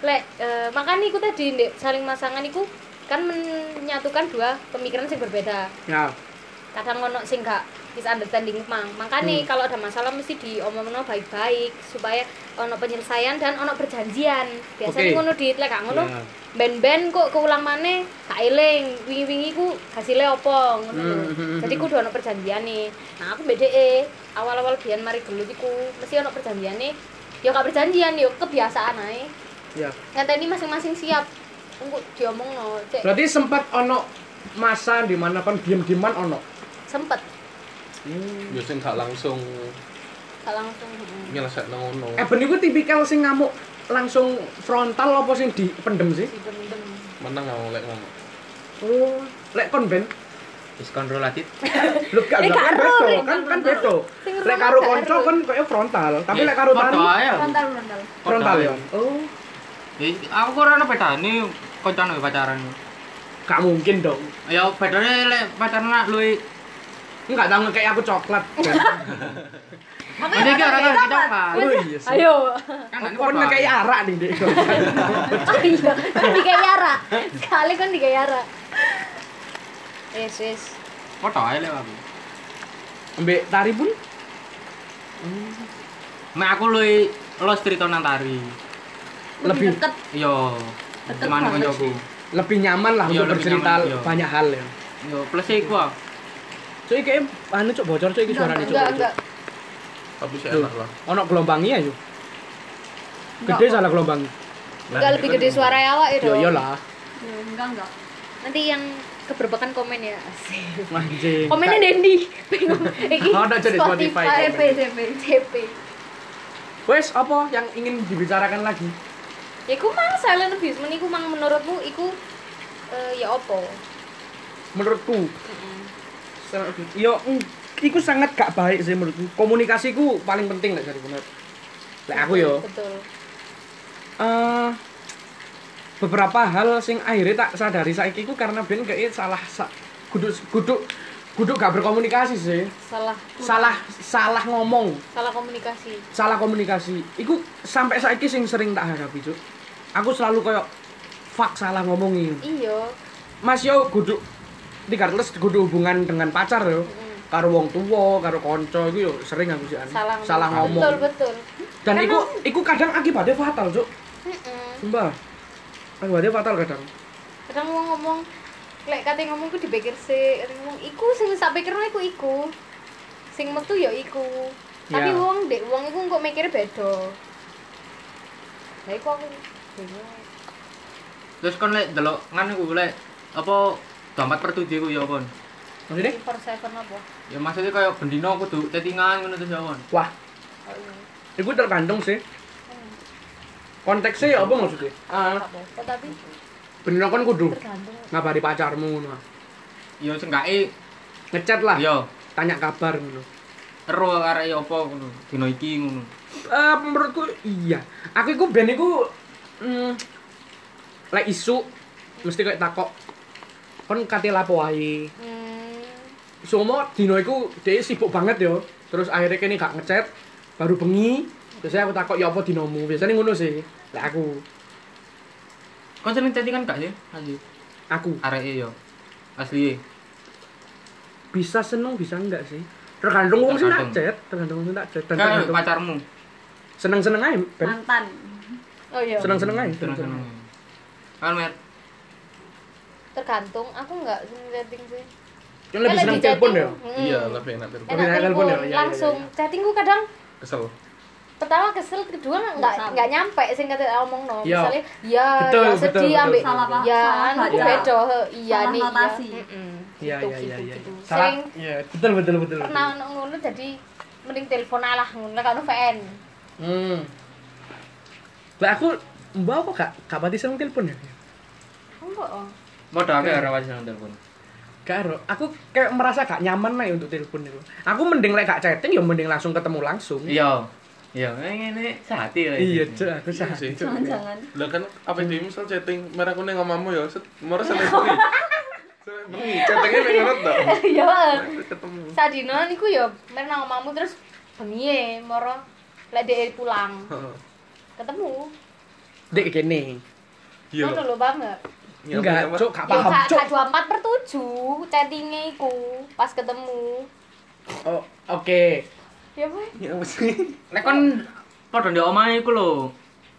Lek, eh, makanya iku tadi Ndek, saling masangan iku kan menyatukan dua pemikiran yang berbeda.
Ya.
Kadang ono sing gak misunderstanding mang. Makanya
Hmm.
kalau ada masalah mesti diomongno baik-baik supaya ono penyelesaian dan ono perjanjian. Biasanya
Oke.
ngono di lek gak ngono
Ya.
ben-ben kok keulang maneh gak eling wingi-wingi ku hasilnya opo ngono lho.
Hmm, hmm, hmm,
Jadi kudu ono perjanjian nih. Nah, aku BDE awal-awal biyen mari gelut iku mesti ono perjanjian nih. Yo gak perjanjian, yo kebiasaan ae
Ya.
ngenteni masing-masing siap untuk diomong no cek
Berarti sempat ono masa di mana kon diem-dieman ono.
sempet
ya sing gak langsung
gak langsung heeh.
nyelesaikno ngono.
Eh,
Eben iku tipikal sing ngamuk langsung frontal apa sing dipendem sih?
dipendem
Menang gak oleh ngomong.
Oh, lek kon ben
wis kontrol lah dit
Lu gak
Eh,
kan
karo,
beto,
Rin,
kan kan
karo.
beto.
Sing
Lek
rumah
karo
gak
konco
karo.
kan koyo frontal, tapi
Eh,
lek karo
foto
tani
ae aku.
Frontal frontal.
frontal
ae.
ya. Oh,
Eh, aku kok ora ono bedane kancan mbek pacaran
gak mungkin dong.
ya bedane lek pacaran lah luwi
Enggak tahu kayak aku coklat.
Jadi iki ora kan kita apa?
oh iya. sih.
ayo
Kan
Aku
ini
Kon
foto
kayak
ae.
arak nih dek.
oh iya kan digayara sekali kan digayara yes yes
Foto ae lek aku.
Mbek tari pun
Mek aku luwi los cerita nang tari.
Lebih.
deket.
Yo,
Tetep
teman
banget
kancaku.
lebih nyaman lah
Iya,
untuk
lebih
bercerita
nyaman, iya.
banyak hal ya.
Yo, plus e iku ah. aku.
Cuy kayak anu cok bocor cuy iki suarane cok.
enggak enggak
tapi sih enak lah
Ono gelombangnya yo. Gede salah gelombang.
Enggak lebih gede suara ya awak itu.
Yo yo lah.
Ya, enggak enggak.
Nanti yang keberbekan komen ya. Asik.
Anjing.
Komennya Dendi. Bingung. Iki
Oh, ada jadi Spotify
TP
komen.
TP.
TP.
Wes apa yang ingin dibicarakan lagi?
Ya iku mang silent abuse iku mang menurutmu iku eh, ya opo?
Menurutku. Yo mm, iku sangat gak baik sih menurutku. Komunikasiku paling penting lek dari bener. Lek aku yo.
Betul.
eh beberapa hal sing akhirnya tak sadari saiki ku karena ben kayak salah sa guduk guduk guduk gak berkomunikasi sih
Salah
salah salah ngomong
salah komunikasi.
salah komunikasi iku sampai saiki sing sering tak hadapi cuk aku selalu kayak fuck salah ngomong ini
Iya.
mas yo guduk di kartus guduk hubungan dengan pacar yo karo wong tua karo konco itu yo sering aku sih
Salah ngomong.
salah
Betul
ngomong
betul.
dan
Karena-
iku iku kadang akibatnya fatal cuk
Heeh.
sumpah akibatnya fatal kadang
Kadang mau ngomong lek kate ngomong ku dipikir sih, kate ngomong iku sing sak pikirno iku iku. Sing metu ya iku. Tapi
Ya.
wong dek wong iku kok mikire beda. Lah iku aku bingung.
Terus kon lek delok ngan iku lek apa 24 per 7 iku ya kon.
maksudnya
24/7 apa?
Ya maksudnya kaya bendino kudu tetingan ngono terus ya kon.
wah
Oh iya.
Iku tergantung sih. Konteksnya ya apa maksudnya? Ah,
Apa? Oh, tapi
bener kan kudu
tergantung.
ngabari pacarmu ngono.
Ya sengkake
Ngechat
Ah.
lah,
ya
tanya kabar ngono.
ero arek ya apa ngono dino iki ngono.
Eh menurutku iya. Aku iku ben iku mm, lek isu mesti kayak takok kon kate lapo wae.
Hmm.
Somo dino iku dia sibuk banget yo. Terus akhirnya kene gak ngechat, baru bengi. Biasanya aku takok ya apa dinomu. Biasanya ngono sih. Lek aku,
Kon sering tetingan gak sih? Asli.
aku
Areke ya. Asli. e.
bisa seneng bisa enggak sih tergantung wong sing tak
Tergantung.
chat tergantung wong sing tak chat dan
Kan
tergantung
pacarmu.
seneng seneng aja ben
Mantan.
Oh iya.
seneng seneng aja seneng
Seneng-seneng.
seneng
Kan mer
Tergantung. Aku enggak seneng chatting sih.
yang lebih seneng telepon ya
iya lebih enak telepon
Lebih enak
Enak
telepon
telepon
ya? Iya, iya,
langsung.
iya.
Chatting ku kadang
kesel
pertama kesel kedua
Kesal.
nggak nggak nyampe sing kata omong no
Iya.
misalnya ya
Betul,
ya
betul,
sedih
betul,
ambek
betul.
Salah paham.
ya
salah
anu
Iya.
baca.
beda he, iya
Salah
nih
notasi.
iya Mm-mm.
iya
Gitu,
iya iya
gitu,
iya
gitu.
salah
sering
iya betul betul betul betul.
pernah ono ngono jadi mending telepon alah ngono kan VN
hmm lah aku mbak kok gak gak pati seneng telepon ya
enggak oh
modal ke arek wajah telepon.
gak ero aku kayak merasa gak nyaman lah ya untuk telepon itu aku mending lek gak chatting ya mending langsung ketemu langsung
Iya. Iya, ngene sehati lah.
iya
ini.
cuk aku
Iya
sah
sih.
Jangan-jangan.
lah kan apa dia misal chatting merah kuning ngamamu ya set merah
Iya.
sampai bengi sampai bengi chattingnya pengen tau
ya
Terus ketemu
sadino niku ya mer nang omahmu terus bengi e, moro lek dhek pulang
Heeh.
ketemu
dek kene
iya
ngono lho banget
Iya,
enggak
apa-apa.
cuk gak
ya
paham
kak
cuk
kak 24 per 7 chattinge iku pas ketemu
Oh, oke
ya weh
ya apa sih
Lek kon padha ndek omahe iku
Oh,
lho.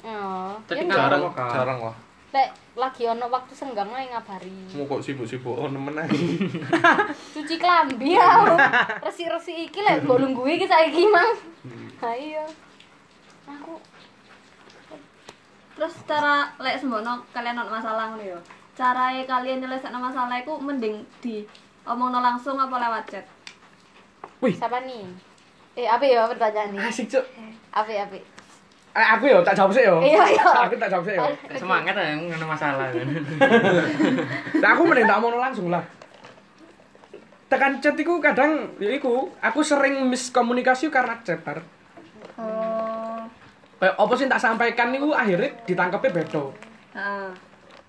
ya
Chatting
enggak.
jarang
apa, Kak?
jarang lah
Lek lagi ono waktu senggang ae ngabari.
mau kok sibuk-sibuk oh nemen aja
Cuci klambi ya. Resi-resi iki lek mbok lungguhi iki saiki, Mang. Ha iya. Aku
Terus cara lek sembono kalian ono masalah ngono ya. Carae kalian nyelesaikno masalah iku mending di omongno langsung apa lewat chat?
wih
siapa nih? Eh, apa ya pertanyaan nih?
asik cuk
Apa apa?
Eh, aku yo tak jawab sih yo
Iya, iya.
aku tak jawab sih yo
Semangat ya ngono masalah kan.
Nah, aku mending tak mau langsung lah. Tekan chat iku kadang ya iku, aku sering miskomunikasi karena chat tar.
Oh.
Kayak apa sih yang tak sampaikan niku akhirnya ditangkepnya beda.
Heeh.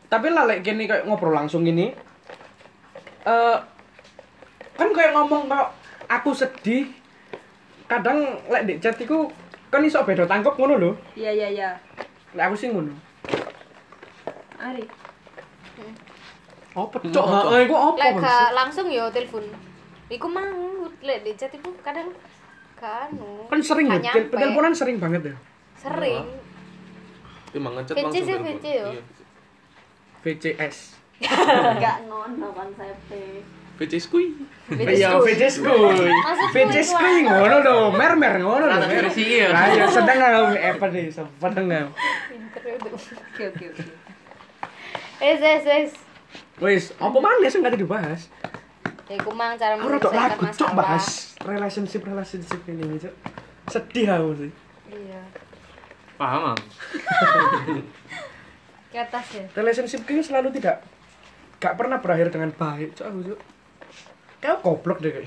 Tapi lah lek gini kayak ngobrol langsung gini. Eh kan kayak ngomong kok aku sedih. Kadang lek di chat iku kan iso beda tangkep ngono lho.
Iya iya iya.
Lek aku sih ngono.
Ari.
Apa cok? Heeh, iku apa?
Lek
Bang?
gak langsung ya telepon. Iku mang lek di chat iku kadang gak anu.
Kan sering ya,
gak nyampe.
teleponan sering banget ya.
sering.
emang ngechat
Kece
langsung kan,
sih,
telepon.
kece ya.
Iya.
VCS.
Enggak ngono konsepnya.
Bitches kui.
Iya, fetish kuy. Fetish kuy ngono do, mermer ngono do.
Rata
mer.
versi iya.
Ayo sedang ngau apa nih, sedang eh. ngau.
Oke oke oke.
Es es es.
Wis, apa maneh sing gak dibahas?
Ya iku mang cara
Aku rada
menyelesaikan
lagu cok
masalah.
bahas relationship relationship ini cok. Sedih aku sih.
Iya.
Paham, Mam?
Ke atas ya.
Relationship ini selalu tidak gak pernah berakhir dengan baik cok aku cok. Kau goblok deh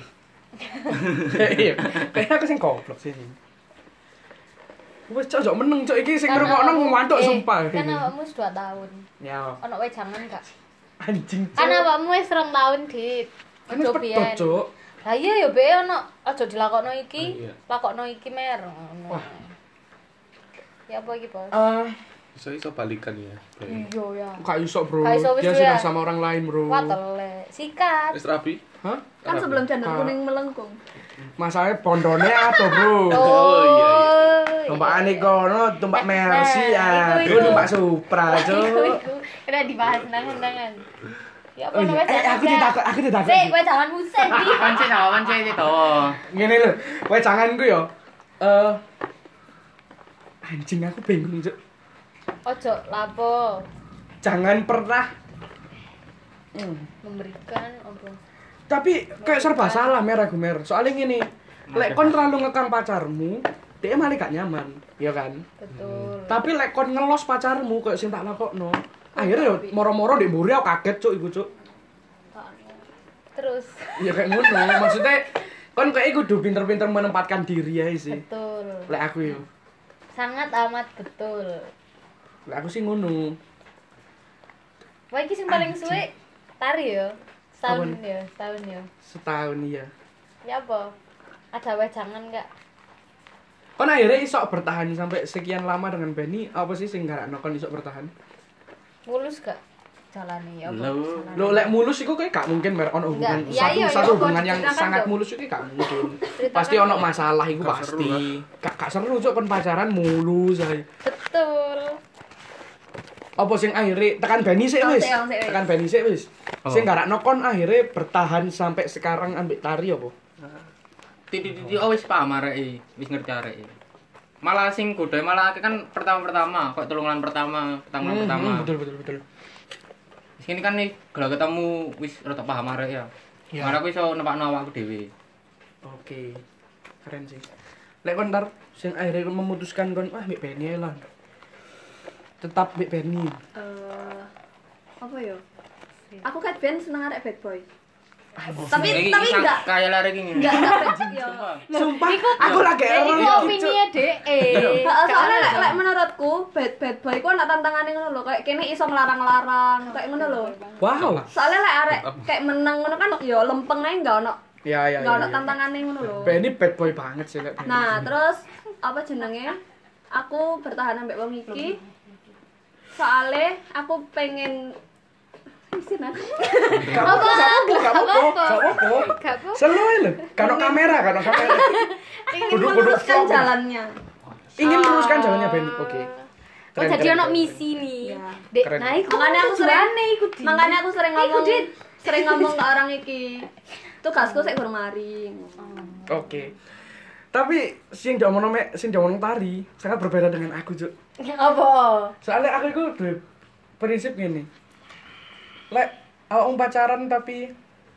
kayaknya. Iya, kayaknya aku sing goblok sih. Wes cok, cok meneng cok iki sing ngrungokno ngantuk sumpah.
Kan awakmu wis 2 tahun.
Ya,
Ono wae jangan gak.
anjing. Cok.
Kan awakmu wis 2 tahun, Dit.
Kan wis
Ojo
pedot
biyen.
cok.
Lah iya ya be ono aja dilakokno
Ah,
iki,
Iya.
lakokno iki mer. Ngono. Ya apa iki, Bos?
Eh,
Bisa iso balikan ya.
Iya ya.
Kak Yusok bro,
Kak Yusok wis
dia sudah
doyan.
sama orang lain bro.
Watele, sikat.
Wis rapi.
Hah?
Kan sebelum jandar
Ah.
kuning melengkung.
Masalahnya pondone atau bro.
Oh, iya, iya.
iya.
Tumpak ane kono, tumpak
Nah,
Mercy
nah,
ya,
iku,
bro
iku.
tumpak Supra
Iku,
cok.
iku. Kena dibahas nang-nangan. Ya apa
Oh iya,
namanya?
eh aku ditakut, aku ditakut.
Sik, kowe jalan musik iki.
Kan sih jawaban sih itu.
Ngene lho, kowe jangan ku yo. Eh anjing aku bingung cok.
Ojo lapo
Jangan pernah
Hmm. memberikan obrol.
tapi
Nah,
kayak serba salah mer aku mer. Soalnya gini, lek kon terlalu ngekang pacarmu, dia malah gak nyaman, ya kan?
Betul.
Tapi lek kon ngelos pacarmu kayak sing tak
Oh,
lakokno. Akhirnya yo moro-moro ndek mburi aku kaget cuk iku cuk.
Terus
Ya kayak ngono, maksudnya kon kayak kudu pinter-pinter menempatkan diri ae sih.
betul.
Lek aku yo.
Sangat amat betul.
Lek aku sih ngono.
Wah, iki sing paling suwe tari yo. Setahun
Apaan?
yo, setahun yo.
Setahun ya.
Ya apa? Ada wejangan enggak?
Kon akhirnya isok bertahan sampai sekian lama dengan Benny, apa sih sing ngarakno kon isok bertahan?
Mulus gak? Jalani ya apa?
Lho.
Jalani.
Lo lek mulus iku kayak gak mungkin mer ono hubungan
Enggak. Ya, iya,
satu
iya, kan ya.
satu
kon
hubungan yang
ceritakan
sangat
dong.
mulus iku gak mungkin.
Ceritakan
pasti ono
dong.
masalah iku
Gak seru
pasti.
lah.
Gak gak seru cuk kon pacaran mulus ae.
Betul.
apa sing akhirnya tekan Beni sih
Oh,
wis
sik, oh, sik, wis.
tekan Beni sih wis
Apa?
Oh.
sing garakno kon akhirnya bertahan sampai sekarang ambek tari apa
Titi-titi oh wis paham arek iki, wis ngerti arek iki. Malah sing kudu malah aku kan pertama-pertama, kok telungan pertama, pertama
Hmm,
pertama.
hmm, betul betul betul
Wis kene kan nih kalau ketemu wis rada paham arek ya.
Iya.
Malah aku iso nepakno awakku dhewe.
oke keren sih lek kon ntar sing akhirnya kon memutuskan kon wah mbek Beni ae lah tetap mbek Beni
Eh apa yo? Aku cat band seneng arek bad boy. Tapi
Iki
tapi
sang-
enggak
kaya lari iki.
enggak enggak yo.
Sumpah.
sumpah aku lagi
Ya
error
iku opini ya, Dek. Eh.
Heeh, soalnya lek lek menurutku bad bad boy ku ana tantangane ngono lho, kayak kene iso ngelarang-larang, kayak ngono lho.
wow lah
Soalnya lek arek kayak meneng ngono kan yo lempeng ae enggak ono
ya ya
enggak ono
ya, ya
tantangane ngono lho.
Beni bad boy banget sih lek Beni.
Nah, terus apa jenenge? Aku bertahan ambek wong iki. Soale aku pengen isin aku.
Gak apa-apa, gak apa-apa, gak apa-apa.
Gak apa.
Selalu ae lho, kano kamera, kano kamera.
Pengen
Duduk-duduk
meluruskan
vlog.
jalannya.
Ingin meluruskan jalannya Beni. Oke.
Oh,
Keren,
jadi
keren,
ono
keren.
misi nih.
Iya.
Dek,
Keren.
nah iku
Makanya aku sering-
tujuannya iku di.
Makanya aku sering
Iku,
ngomong
Dit.
sering ngomong ke orang iki. Tugasku sik kurang mari.
Oh.
Oke. Tapi sing diomongno mek sing diomongno tari sangat berbeda dengan aku, Cuk.
apa?
Soalnya aku itu duwe prinsip gini. Lek awakmu pacaran tapi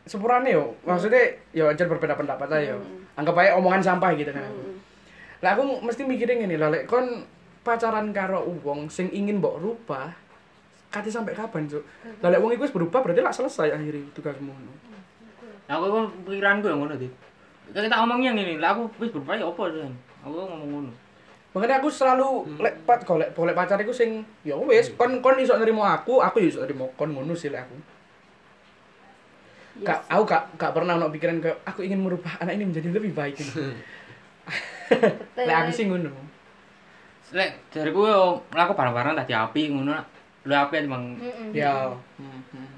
sepurane yo, maksudnya yo aja berbeda pendapat aja yo. Anggap aja omongan sampah gitu kan. aku. Lah aku mesti mikirin gini, lah lek kon pacaran karo wong sing ingin mbok rubah, kate sampai kapan, Cuk? Lah lek wong iku wis berubah berarti lah selesai akhirnya tugasmu.
Aku kan pikiranku yang ngono, Dit. Kayak Kita omongnya ngene, lah aku wis berubah ya apa Dit? Aku ngomong ngono.
Makanya aku selalu lek pat golek golek pacar iku sing ya wis kon kon iso nerimo aku, aku ya iso nerimo kon ngono sih lek aku. Gak, aku gak, gak pernah ono pikiran kayak aku ingin merubah anak ini menjadi lebih baik. lek aku sih ngono.
Lek jariku yo lah aku barang-barang tadi api ngono. lah. Lu api emang
Ya. Mhm.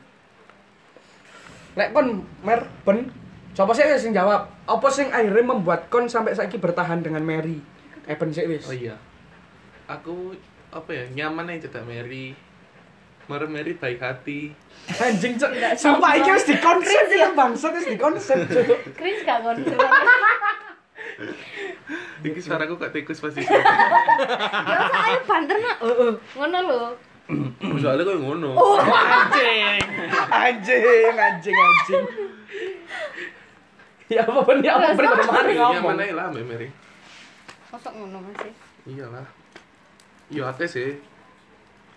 Lek kon mer ben sapa sih wis sing jawab? Apa sing akhirnya membuat kon sampai saiki bertahan dengan Mary?
iya.
Eh ben sih wis.
Oh iya. Aku apa ya nyaman aja tidak Mary. Mari Mary baik hati.
Anjing cok. Sumpah iki wis dikonsep ya bangsat wis dikonsep cok.
Kris gak kon.
Iki suaraku kok tikus pasti.
Ya soalnya banter nak. Ngono lho.
Soalnya kok ngono.
Oh, Anjing. Anjing anjing anjing. Ya apa ben ya apa ben kemarin
Iya
ngomong.
mana lah Mbak Mary.
Mosok ngono masih.
Iyalah. Iya ate sih.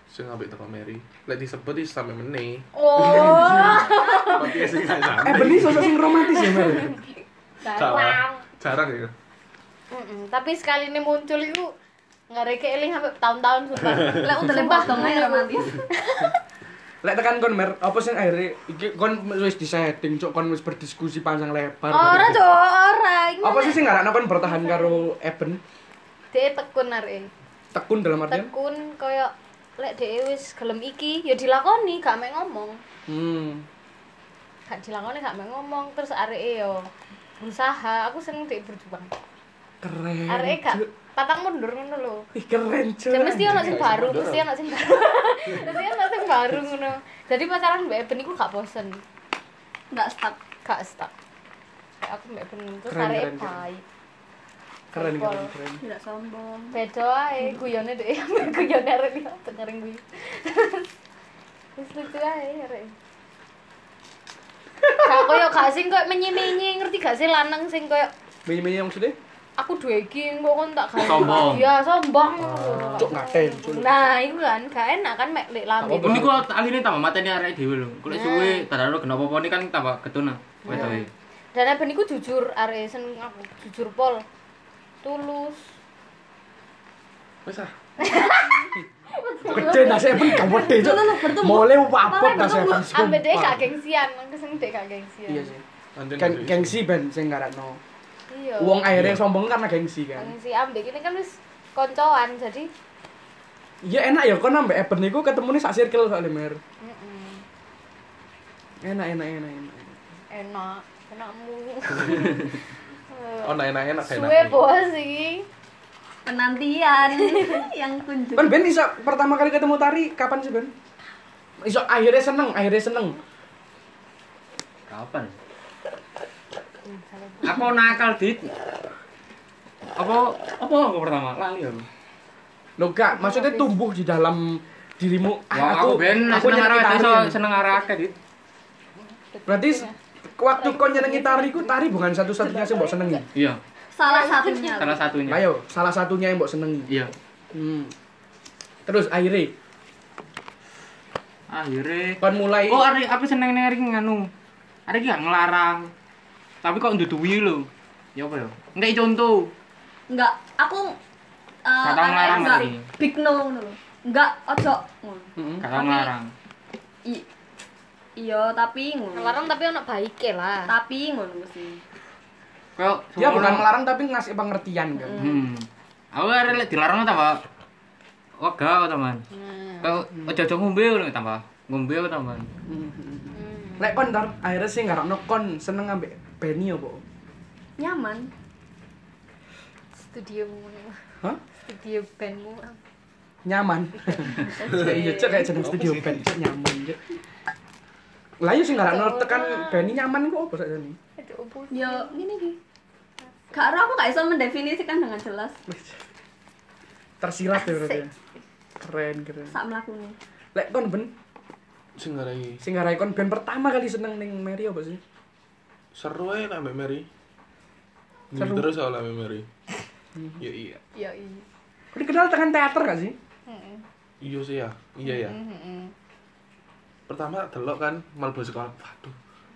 Sing ambek teko Mary. Lek disebut iki sampe meneh.
Oh.
Tapi sing gak sampe.
Eh Beni sosok sing romantis ya Mel.
Salah. Jarang ya.
Mm-mm, tapi sekali ini muncul itu ngareke eling sampai tahun-tahun sumpah. iya,
Lek udah lempar dong ae romantis.
Lek tekan kon Mer, apa sing akhirnya iki kon wis disetting cok kon wis berdiskusi panjang lebar.
Ora cok, ora. Ini
Apa sih sing ngarakno kon bertahan karo Eben?
Dhe'e tekun arek.
Tekun dalam artian?
Tekun koyo lek dhe'e wis gelem iki ya dilakoni gak mek ngomong.
Hmm.
Gak dilakoni gak mek ngomong terus areke yo berusaha. Aku seneng dhek berjuang.
Keren.
Areke gak
Eh, Cuk.
patang mundur ngono lho.
Ih keren cok.
Ya mesti ono sing
Gak iso
baru,
mundur,
mesti
ah.
ono sing baru. Mesti ono sing baru ngono. Jadi pacaran Mbak Eben iku gak bosen.
Enggak stuck.
Gak stuck. Kayak aku Mbak Eben terus
Keren,
areke
keren, keren.
baik.
keren keren
Pol.
keren.
Enggak sombong.
beda ae guyone dhek ambek guyone arek iki penyering guyu wis lucu ae arek Gak koyo gak sing koyo menyi-menyi ngerti gak sih lanang sing koyo
Menyi-menyi maksudnya?
aku duwe iki engko kon tak gawe.
Sombong.
Iya, sombong ngono.
Cuk ngaten cuk.
Nah, iku kan gak enak kan mek lek lambe.
Apa-apa.
Ini kok akhirnya tambah mateni arek dhewe lho. Kalau suwe tararo kenapa apa ini kan tambah ketuna. Wedoke.
Dan ben iku jujur arek seneng aku jujur pol. Tulus.
Wes ah.
Gede nasi Eben gak gede cuk. Mole wapot nasi Eben.
Ambek dhek
sumpah.
gak gengsian, keseng dhek gak gengsian.
Iya sih.
Anjen
Geng- Gengsi ben sing ngarakno.
Iya.
Wong akhirnya sombong karena gengsi kan.
Kan si ambek ini kan wis koncoan jadi
Iya enak ya kon ambek Eben niku ketemune sak circle soalnya Mer.
mm-mm,
Enak enak enak enak. enak.
enak enakmu
Oh, enak enak enak enak.
suwe bos iki
Penantian yang kunjung.
Kan Ben Ben iso pertama kali ketemu Tari kapan sih Ben? Iso akhirnya seneng, akhirnya seneng.
Kapan? Hmm, Aku nakal dit. Apa apa aku pertama? Lali aku.
Loh gak, maksudnya tumbuh di dalam dirimu.
Iya, Wah, Ah, aku ben seneng
nyenengi
arek
Tari,
iso
Ben.
seneng arek akeh dit.
Berarti
Iya.
se- waktu kau nyenengi Tari ku Tari bukan satu-satunya sih mbok senengi.
Iya,
Salah satunya.
salah satunya.
Ayo, salah satunya yang mbok senengi.
Iya.
Hmm. Terus akhirnya
Akhirnya
kon mulai
Oh, arek aku seneng ning arek nganu. Arek gak ngelarang. Tapi kok nduduwi lho. Ya apa ya? Entek contoh.
Enggak, aku eh,
Gak tau ngelarang
enggak
berarti.
big no ngono lho. Enggak, ojo ngono.
Mm-mm.
Gak tau ngelarang.
I- Iya, tapi ngono.
ngelarang tapi ono baike lah
Tapi ngono mesti.
Kayak
dia bukan
semono-
melarang tapi ngasih pengertian kan.
Hmm. Aku arek lek dilarang tambah wega kok teman.
Nah.
Kau ojo-ojo ngombe lho tambah. Ngombe kok teman.
Lek kon tar akhirnya sih ngarapno kon seneng ambek Benny ya, opo?
Nyaman.
studio mu
Hah?
studio bandmu
Nyaman. Iya, cek kayak jeneng studio band cek nyaman cek. Lah yo sing ngarapno tekan Benny nyaman ku opo sakjane?
aduh opo
Yo ngene iki. Gak ero aku gak iso mendefinisikan dengan jelas
Tersirat ya berarti. ya. Keren keren.
sak mlakune.
Lek kon ben
Sing ngarai.
sing ngarai kon ben pertama kali seneng ning Mary opo sih?
Seru ae nak Mbak Mary.
Seru.
Seru terus oleh Mbak Mary. Ya iya.
ya iya
Kon dikenal tekan teater gak sih?
Heeh.
Iya sih ya. Iya ya.
Heeh.
Pertama tak delok kan mlebu sekolah. Waduh.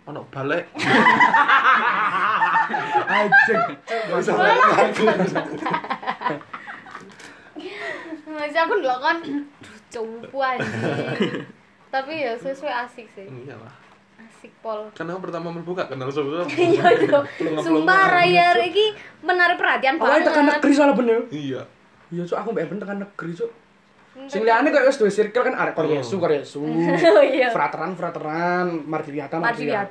Ono balik.
Ajeng.
Gak usah balik aku.
Mas aku ndelok kan duh cupu anjing tapi ya sesuai asik sih
Iya lah.
asik pol
Karena Kan aku pertama mlebu gak kenal sapa.
iya iya sumpah
ya,
raya iki menarik perhatian
Awalnya tekan
banget
negeri soalnya bener.
Iya.
Iya cuk aku mbak Ben tekan negeri cuk. Sing liyane koyo wis duwe circle kan arek Koryesu Koryesu.
oh iya
Frateran Frateran, Mardiwiata
Mardiwiata.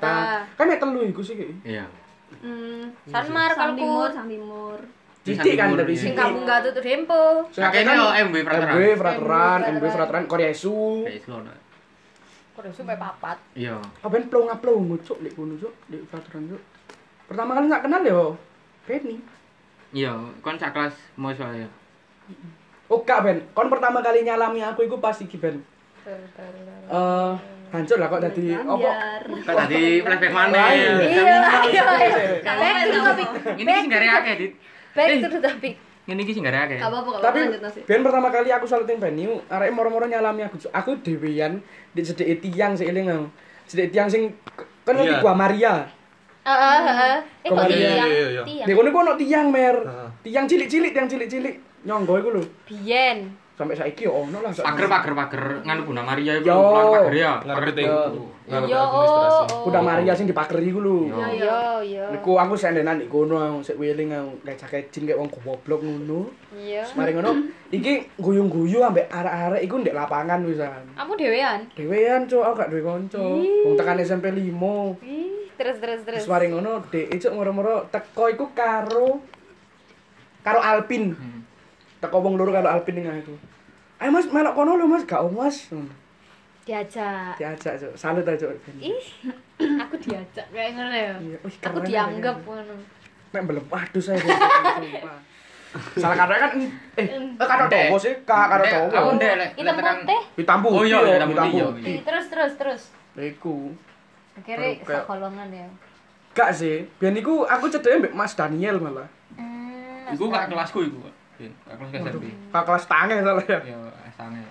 Mardiwiata. Kan nek telu iku sih kayak.
Iya.
Hmm,
sanmar
sang timur,
kalku
sang timur.
Titik kan
Timur,
dari
iya.
sini.
sing kampung gatut dempo
Kakeknya yo MB
MB
peraturan.
Frateran,
MB
MB Frateran Koryesu.
Kayak iso, no.
Kudu sampai papat.
Iya.
Kapan plong-plong cuk lek kono cuk, lek peraturan cuk. Pertama kali tak kenal ya, yo Benny.
Iya, kon sak kelas mau ya. soalnya.
Oh kak Ben, kon pertama kali nyalami aku iku pas iki Ben.
Iya,
Eh, hancur lah Iya, oh, kok dadi opo?
Kok tadi flashback mana?
Iya.
Iya, iya.
Gak
Back to the topic.
Ini sih gak akeh, Dit.
Back to the topic.
Ini sih gak akeh.
Gak apa-apa kalau
Tapi
lanjut nasi.
Ben pertama kali aku salutin Benny, arek moro-moro nyalami aku cuk. Aku dhewean di cedek tiang sik eling aku. Cedek tiang sing kan di
Iya.
gua Maria.
Heeh, heeh. Eh kok
Kemarin.
tiang?
Iya, iya, iya.
Tiang.
Nek kono ku ono tiang mer.
Heeh.
Tiang cilik-cilik, tiang cilik-cilik. Nyonggo iku lho.
Biyen.
Sampai saiki yo ono lah.
Pager pager pager nganu Bunda Maria itu
Yo.
bukan pager ya.
Ngarep
Pager
itu.
Iya.
Ngarep
Yo, oh,
administrasi.
oh.
Udah Maria sing dipakeri iku lho.
Iya.
Yo, yo.
Oh, Niku aku sendenan di kono aku sik weling aku kayak jaket jin kayak wong goblok ngono.
Iya.
Terus Mari ngono iki guyung-guyu ambek arek-arek iku ndek lapangan wisan.
Kamu dewean?
Dhewean cuk aku gak duwe kanca. Wong tekan SMP 5.
Ih, terus terus terus.
Terus mari ngono dhek cuk moro-moro teko iku karo karo Alpin.
Hmm.
Teko wong loro karo Alpin ning aku. Ayo Mas melok kono lho Mas, gak om Mas. Hmm.
Diajak.
Diajak cuk. Salut aja cuk.
Ih, aku diajak kayak ngono ya.
Iya, wih,
Aku
keren
dianggap
aja.
ngono.
Nek belum aduh saya. sumpah. Salah karo kan eh eh, karo dowo sih, ka karo
Ndek,
dowo.
Aku ndek lek
Hitam
tekan-
putih.
Hitam putih.
Oh iya,
yo,
hitam putih,
putih.
Ih, Terus terus terus.
Lah iku.
Akhirnya
Baru kayak-
sekolongan ya.
Gak sih. Biyen iku aku cedeknya mbek Mas Daniel malah.
Hmm,
Iku gak kelasku iku. Bin, Gak kelas SMP.
Pak kelas tange salah ya.
Yo asange.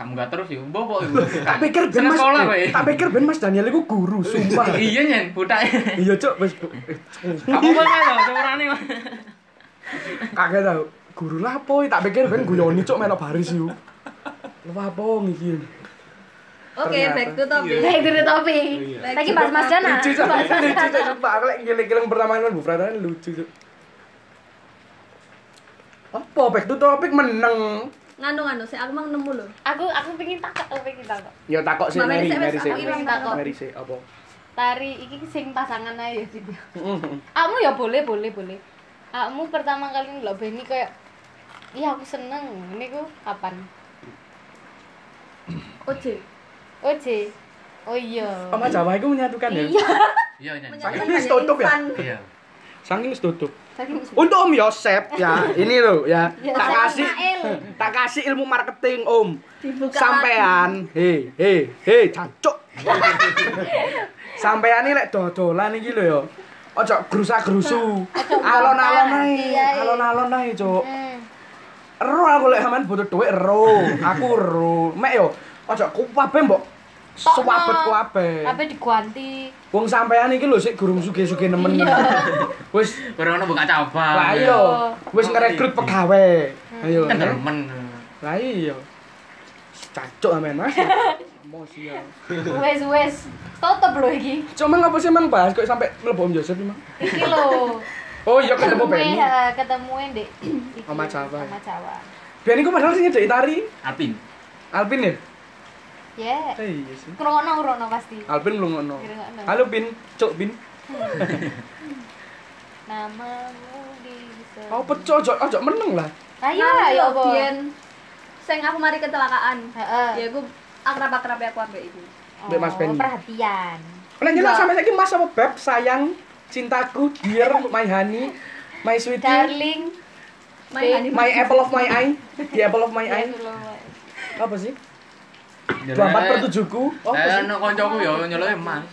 Kamu gak terus yo. Bobo iku.
Tak pikir ben
Seneng
Mas
sekolah
eh,
wae.
Tak pikir ben Mas Daniel iku guru, sumpah.
Iya nyen, budak.
Iya, Cuk, wis eh,
Kamu kok lho, seorane.
kaget tau. Guru lapo, tak pikir ben guyoni Cuk melok baris yo. Lu apa iki? Ternyata.
Oke,
iya.
back to topic.
Back to the topic. Lagi bahas Mas Jana.
Lucu, Cuk. Lucu, Cuk, sumpah. Aku lek ngiling-ngiling pertama kan Bu Prata lucu, Cuk. Apa back to topic meneng?
Nganu nganu, saya aku mang nemu lho.
aku aku pengen takut aku pengen takut
Ya takok sih
Mbak Mary
Mary,
sih,
Mary
Mas,
sih.
aku
ilang takok.
Mary sih apa?
tari iki sing pasangan aja ya gitu
Heeh.
kamu ya boleh boleh boleh kamu pertama kali ngelok Benny kayak iya aku seneng ini ku kapan
Oce.
Oce oh iya
Sama Jawa itu menyatukan ya?
Iya nyen.
Saking wis tutup ya?
Iya.
Saking wis tutup. Untuk Om Yosep ya, ini loh ya. Tak kasih tak kasih ilmu marketing Om.
Dibuka
Sampean, he he he cancuk. Sampean ini lek dodolan iki lho ya. Ojo grusa-grusu. Alon-alon ae, alon-alon ae, Cuk. Ero aku lek sampean butuh dhuwit ero. Aku ero. Mek yo ojo kuwabe mbok suwabet kuwabe.
tapi diganti
Wong sampean iki lho sik gurung sugih-sugih nemen. Wis
Ora ono buka cabang.
Lah iya, wis ngerekrut pegawai. Ayo.
Kan demen.
Lah iya. Cacuk amen Mas. Emosi ya.
wes wes tutup loh iki
Cuma ngapa sih mang bahas kok sampai mlebu Om Joseph Mang?
iki lo
Oh iya ketemu Benny.
ketemuin dek Iki,
Sama Jawa.
sama Jawa
Benny ku padahal sing nyedeki tari.
Alpin.
Alvin ya?
ya
Eh, iya sih.
krono krono pasti
Alvin belum ngono.
Ngrungokno.
Halo Bin, Cuk Bin.
namamu di
Kau pecah Oh, ojo ojo meneng lah.
ayo
Iya,
lah
ya
ya
apa?
apa
Biyen sing aku mari kecelakaan.
Heeh. Oh,
Ya aku akrab-akrab ya aku ambek iki.
Mbak Mas Benny.
perhatian
Lah nyelak
Enggak.
sampai saiki Mas apa Beb sayang cintaku dear my honey my sweetie
darling
Main anime.
my apple of my eye the apple of my
Eh.
ya
eye
Allah.
apa sih 24 per 7 ku oh apa
Eh,
sih
ono koncoku yo nyeluk Mas.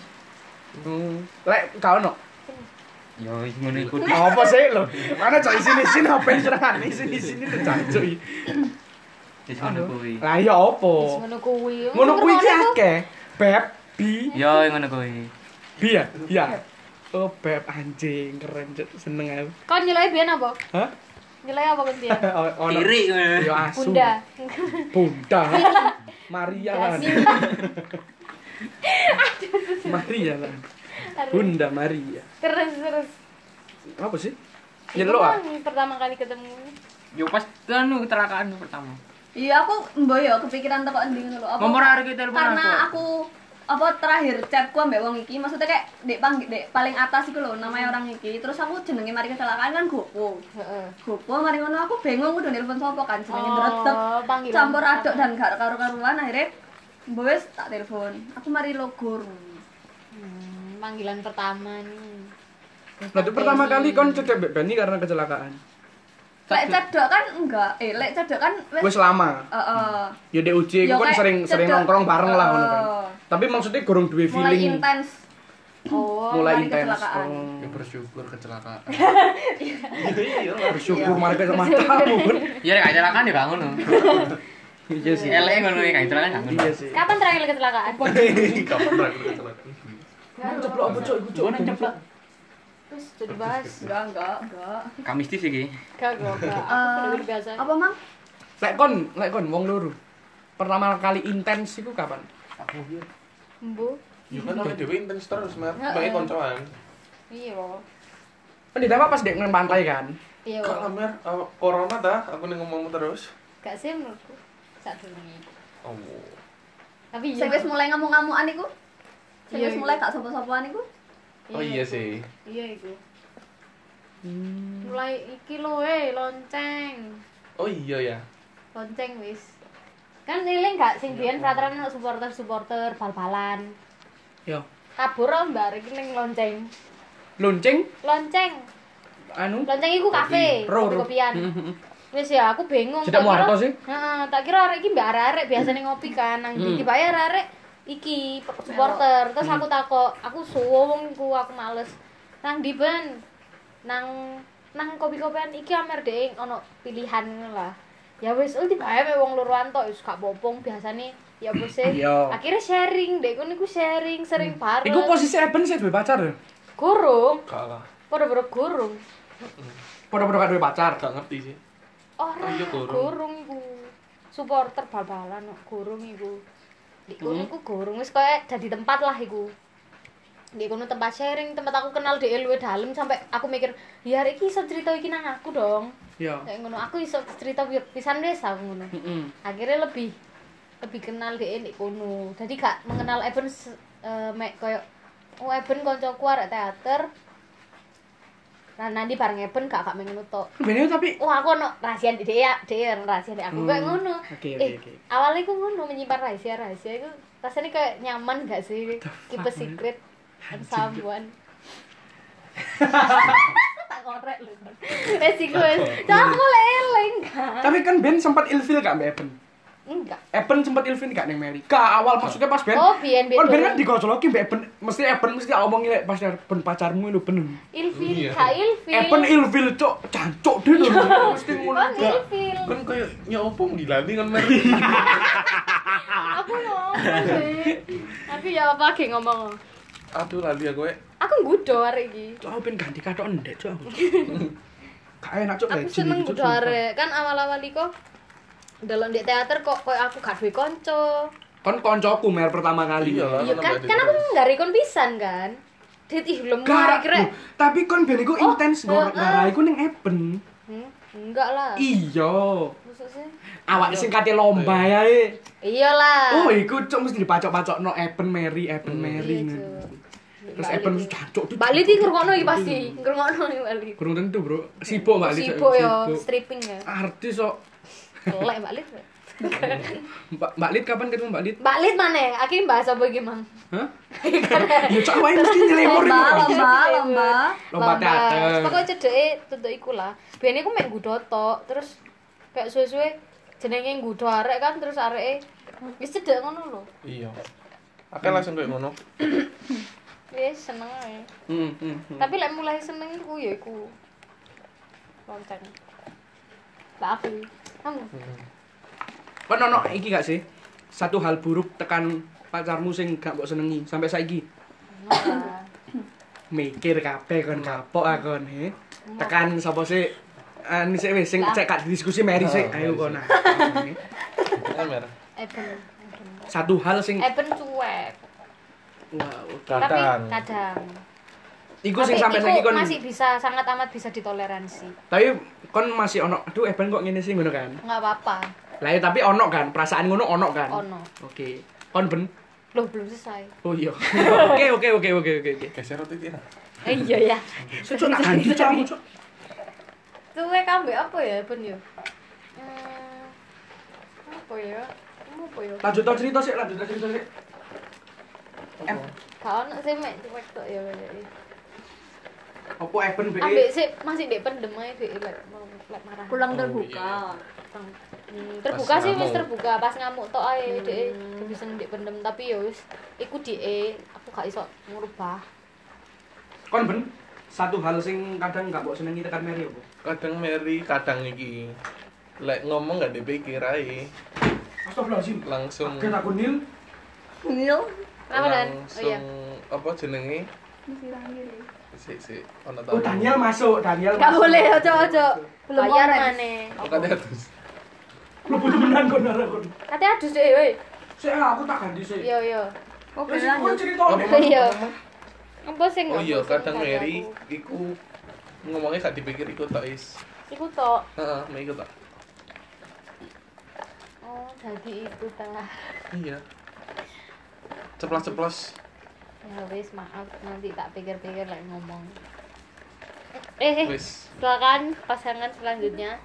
Hmm. Lek kau no.
Yo wis ngono iku.
Apa sih lo? Mana cok sini sini apa yang serangan sini sini tuh cok.
Wis ngono kuwi.
Lah ya
Wis
apa?
ngono kuwi
Ngono kuwi iki
Ngrungokno ku-
akeh. Beb bi
Yo ngono kuwi.
bi ya. Iya. Oh beb anjing keren cok seneng aku.
kon nyeloi biyen apa
Hah?
nyeloi apa kon biyen
Oh, ono.
Tirik.
Ya asu.
bunda
Bunda. Maria lah. Maria lah. Bunda Maria.
terus terus
Apa sih?
Iya.
Iku
Yelo ah.
mang pertama kali ketemu
Yo pas anu kecelakaan pertama.
Iya, aku mboyo kepikiran teko endi ngono lho. Apa-
Nomor arek iki telepon
Karena
aku.
aku apa terakhir chatku ambek wong iki, maksudnya kayak dek panggil dek paling atas iku lho namanya orang iki. Terus aku jenenge mari kecelakaan kan Gopo.
heeh
Gopo mari ngono aku bingung udah nelpon sapa kan jenenge
Oh,
ndredeg.
panggilan.
Campur aduk dan gak karu-karuan akhirnya Mbak wis tak telepon. Aku mari logor.
Hmm, panggilan pertama nih.
Nah, itu pertama kali kon cedek Mbak Bani karena kecelakaan.
Lek cedok kan enggak. Eh, lek cedok kan
Wis lama.
Heeh.
Ya di uji
Ya,
aku kan
kayak
sering sering
cedek.
nongkrong bareng lah ngono kan.
Oh.
Tapi maksudnya gorong duwe
mulai
feeling.
intens.
oh
mulai
mari
intens.
kecelakaan.
Oh.
Ya bersyukur kecelakaan.
Iya.
Iya,
Iya.
Bersyukur malah kayak matamu. Bun.
Iya rek kecelakaan ya bangun.
Iya sih.
LE ngono ya kecelakaan bangun.
Iya sih.
Kan-
Kapan terakhir kecelakaan?
Kapan terakhir kecelakaan?
Kan ceplok apa cuk iku cuk.
terus jadi bahas
Enggak, enggak, enggak.
Kamistis iki.
gak gak gak aku udah biasa
Eh, Apa, Mang?
Lek kon, lek kon wong loro. Pertama kali intens iku kapan?
embu
Ya Oh, iya. kan awake dhewe intens terus, Mer. Pengen koncoan.
iya loh
Kan di Dava pas dek nang pantai kan.
iya
Kalau
loh
Mer, eh, corona dah, aku ning ngomong terus.
Gak sih menurutku. Saat dulu nih.
Oh.
Tapi
Sing wis mulai ngamuk-ngamukan iku. Sing
Iya,
wis
iya.
mulai gak sapa-sapaan iku.
Oh iya sih.
Iya iku.
Hmm.
Mulai iki lho eh lonceng.
Oh iya ya.
Lonceng wis. Kan eling gak sing biyen frateran ono supporter-supporter bal-balan.
Yo.
Kabur om mbak iki ning lonceng.
Lonceng
Lonceng.
anu
Lonceng iku kafe,
Ro, ro.
kopi-kopian. Wis ya aku bingung. Tak
Cedak
kira-
Muarto sih. Hmm.
Heeh, tak kira arek iki mbak arek biasane ngopi kan nang iki bae arek iki supporter. Terus
Hmm.
aku takok, aku suwo wong iku, aku males. Nang di ben nang nang kopi-kopian iki amer dhek ono pilihan ngono lah. Ya wis ulti bae mek wong loroan tok wis gak popong biasane ya apa sih.
Iya. Hmm.
Akhirnya sharing, dek kono iku sharing, sering bareng.
Iku posisi Eben sih duwe pacar ya.
gurung,
Kalah.
padha-padha gurung.
Padha-padha gak duwe pacar.
Gak ngerti sih.
Ora,
iya,
Oh,
gurung.
gorong iku. Supporter bal-balan kok gorong iku. Di kono iku gorong wis kaya jadi tempat lah iku. Di kono tempat sharing, tempat aku kenal dhek luwe dalem sampai aku mikir, ya hari iki iso cerita iki nang aku dong.
Yo.
Iya.
Kayak ngono, aku iso cerita pi- pisan wis aku ngono.
Heeh.
Akhirnya lebih lebih kenal dhek di kono. Jadi gak mengenal Eben se- eh, mek koyo oh Eben kancaku arek teater. Nah, nanti bareng Eben gak gak mengenut tok.
Bener tapi
Wah, aku ono rahasia di dia, dia ono rahasia di aku kayak
Hmm.
ngono.
Oke, oke,
eh,
oke.
awalnya aku ngono menyimpan rahasia rahasia itu rasanya kayak nyaman gak sih? Keep a secret from someone. tak ngorek lho. Eh, Wes iku wes. Jangan mulai eling kan.
tapi kan Ben sempat ilfil gak Mbak Eben?
Enggak.
Eben sempat ilfil gak neng Mary? Ka awal maksudnya pas Ben.
Oh, biyen
Kan Ben kan
beda.
digojoloki Mbak Eben mesti Eben mesti ngomongin lek pas Ben pacarmu lu Ben.
Ilfil,
Iya.
Kak Ilfil.
Eben ilfil cok, cancok dia lho. Mesti ngono.
Kon Ilfil.
Kan kayak nyopo ngilanti kan Mer.
Aku ngomong sih. Tapi ya apa ge ngomong.
Aduh lali aku ya.
Aku nggudo arek iki.
Cok aku pengen ganti katok ndek cok. aku. Gak enak cok
aku
legend
seneng
iki, Cok,
budal arek kan awal-awal iku delok di teater kok koyo aku gak duwe kanca
sumpah. Kon koncoku mer pertama kali.
Iya lah.
iya kan kan aku nggak rekon pisan kan dit ih belum kare
Gara,
kira
Loh, tapi kon ben iku
Oh,
intens ngorek
heeh.
gara iku ning Eben.
hmm, enggak lah
Iya.
maksud sih
Awak sing kate lomba yae.
iyalah
Oh, iku cok mesti dipacok-pacokno Eben Mary, Eben Mary.
Iya, Cok.
Terus Eben mesti cancok
Mbak Liti ngrungokno iki pasti ngrungokno iki Mbak Liti
Kurang tentu, Bro. Sibuk Mbak Lid.
sibuk yo
Sibuk.
stripping ya
Artis kok.
elek Mbak Liti
Mbak Mbak Lid kapan ketemu Mbak Lid?
Mbak Liti mana akhirnya bahas apa iki Mang
Hah? Ya cok wae mesti nyelemur
Lomba,
iku.
lomba, lomba.
Lomba teater.
Pokoke cedeke tutuk iku lah. Biyen iku mek nggudo tok, terus kayak suwe-suwe jenenge nggudo arek kan terus areke wis cedek ngono lho.
Iya. Aku langsung kayak ngono.
Wis seneng ae.
Hmm, hmm, hmm.
Tapi lek mulai seneng iku ya iku. Lonceng. Lah aku. Kamu.
Kon ono iki gak sih? Satu hal buruk tekan pacarmu sing gak mbok senengi sampai saiki.
Hmm.
Mikir kabeh kon kapok aku he. Tekan sapa sih? Anu sih wis sing cek gak diskusi Mary sih. Ayo kon. ah.
Kan Mer.
Eben. Hmm.
Satu hal sing
Eben cuek.
wow.
Tapi
Kadang.
kadang.
Iku
Tapi
sing sampai saiki
iku
kon
masih bisa sangat amat bisa ditoleransi.
tapi kon masih ono aduh Eben kok ngene sih ngono kan.
Enggak apa-apa.
Lah ya, tapi ono kan perasaan ngono ono kan.
Ono.
Oke. Kon ben
Loh, belum selesai.
Oh iya. Oke oke oke oke oke oke.
Geser titik. ya.
Eh iya ya.
Cuk, Cuk tak ganti cuk aku, cuk.
Cuek ambek apa ya, Ben yo? Hmm, apa ya? Mu apa ya?
Lanjut tau cerita sih, lanjut tau cerita sih. Em,
Gak ono sih mek cuek tok ya kayak gitu.
apa Eben be?
Ambek sih masih dek pendem ae dek lek mau- lek marah.
Pulang
Oh,
terbuka.
Hmm, terbuka sih wis
ngamuk.
terbuka pas ngamuk tok ae dek bisa dek pendem tapi ya wis iku dek aku gak iso ngubah.
Kon ben satu hal sing kadang gak mbok senengi tekan Mary apa?
kadang Mary kadang iki lek ngomong gak dipikir ae
Astagfirullahalazim.
langsung
Kaget aku Nil.
Nil.
Kenapa dan? Oh
langsung
iya.
apa jenenge
Mesti rangin.
si si ono
Oh, Daniel masuk, Daniel.
Gak
masuk.
boleh, ojo ojo. Belum
Bayar
komen.
maneh.
Oh, kan terus
Lu butuh menang kon arek kon.
Kate adus dek weh.
Sik ah, aku tak ganti sik.
Yo yo.
Oke
Terus kon
lanjut.
cerita
Apa?
nih.
Iya. Apa sing
oh iya
ngomong sing
kadang
kate
Mary
aku?
iku ngomongnya gak dipikir iku tok is
Iku tok.
heeh mau iku tok
Oh, jadi itu tengah.
iya ceplos ceplos
Ya wis maaf nanti tak pikir-pikir lagi ngomong. Eh, eh,
wis
silakan pasangan selanjutnya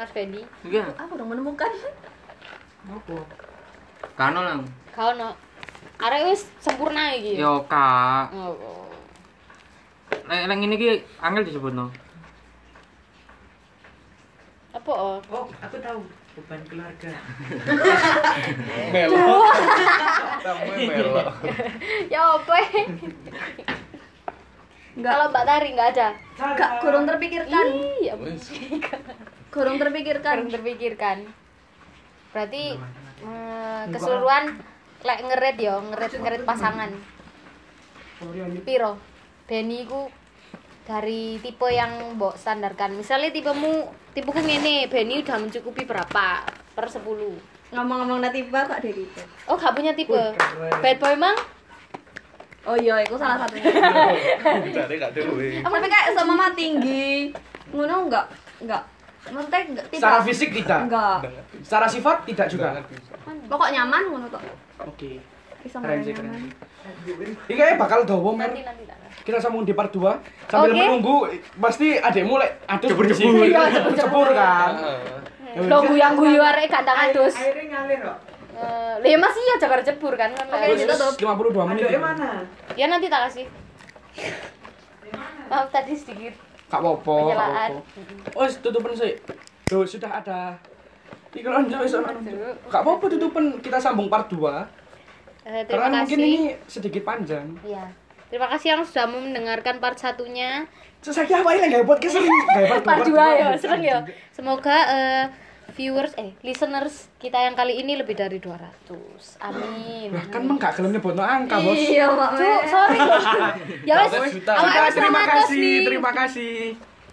Mas Fendi.
Iya,
Aku udah menemukan.
Apa?
kan lang.
Kau no. Arek wis sempurna iki. ya?
Yo kak,
Oh, oh.
lek lek ini ki angel disebut no.
Apa oh?
Oh, aku tahu. Beban keluarga.
Eh.
melo tambah melo
ya apa? eh?
Enggak.
Kalau Mbak Tari nggak ada.
Enggak kurang terpikirkan.
Iya,
wis
Kurang terpikirkan.
kurang terpikirkan. Berarti eh, keseluruhan lek ngeret ya, ngeret-ngeret pasangan.
Sorry anjir.
piro Benny ku dari tipe yang mbok standarkan misalnya tipemu tipeku ngene Benny udah mencukupi berapa per 10 oh
Ngomong-ngomong natiba kok gitu? dari itu.
gak punya tipe
Wih, keren.
bad boy mang
Oh iya, itu salah satunya.
cari gak dewe
Tapi kayak sama mama tinggi. Ngono enggak? Enggak. Maksudnya enggak tiba.
Secara fisik tidak.
Enggak.
Secara sifat tidak juga.
Banget bisa.
Pokok nyaman ngono tok.
Oke.
Bisa
Keren
nyaman.
sih, keren sih. Ini kayaknya bakal dawa, Mer.
nanti nanti nanti.
kita sambung di part 2 sambil
Oke.
menunggu pasti adekmu lek aduh
Jebur-jebur.
bunyi.
Iya,
jebur-jebur
아,
kan
Heeh.
lo guyang guyu arek kandang adus
airnya ngalir kok.
Eh, lah ya masih ya jabar jebur kan kan
Terus
Oke.
Mas?
ditutup.
52 menit
Aduknya mana?
ya nanti tak kasih maaf tadi sedikit
gak apa-apa gak
Penjelaan.
apa-apa wes tutupin sih tuh sudah ada Iki lho, Njo, iso lho. Gak apa-apa tutupin kita sambung part 2
Eh, terima
karena mungkin ini
kasih
sedikit panjang.
Iya. terima kasih yang sudah mendengarkan part satunya
Terus saya apa ini gak podcast sering gak
part 2 ya, seneng ya. Semoga eh, viewers eh listeners kita yang kali ini lebih dari 200. Amin.
Lah kan meng gak gelem nyebutno angka, Bos.
Iya, Mak.
Cuk, sorry. loh. ya wes.
Satu juta.
awake wes
Terima
200
kasih,
nih.
terima kasih.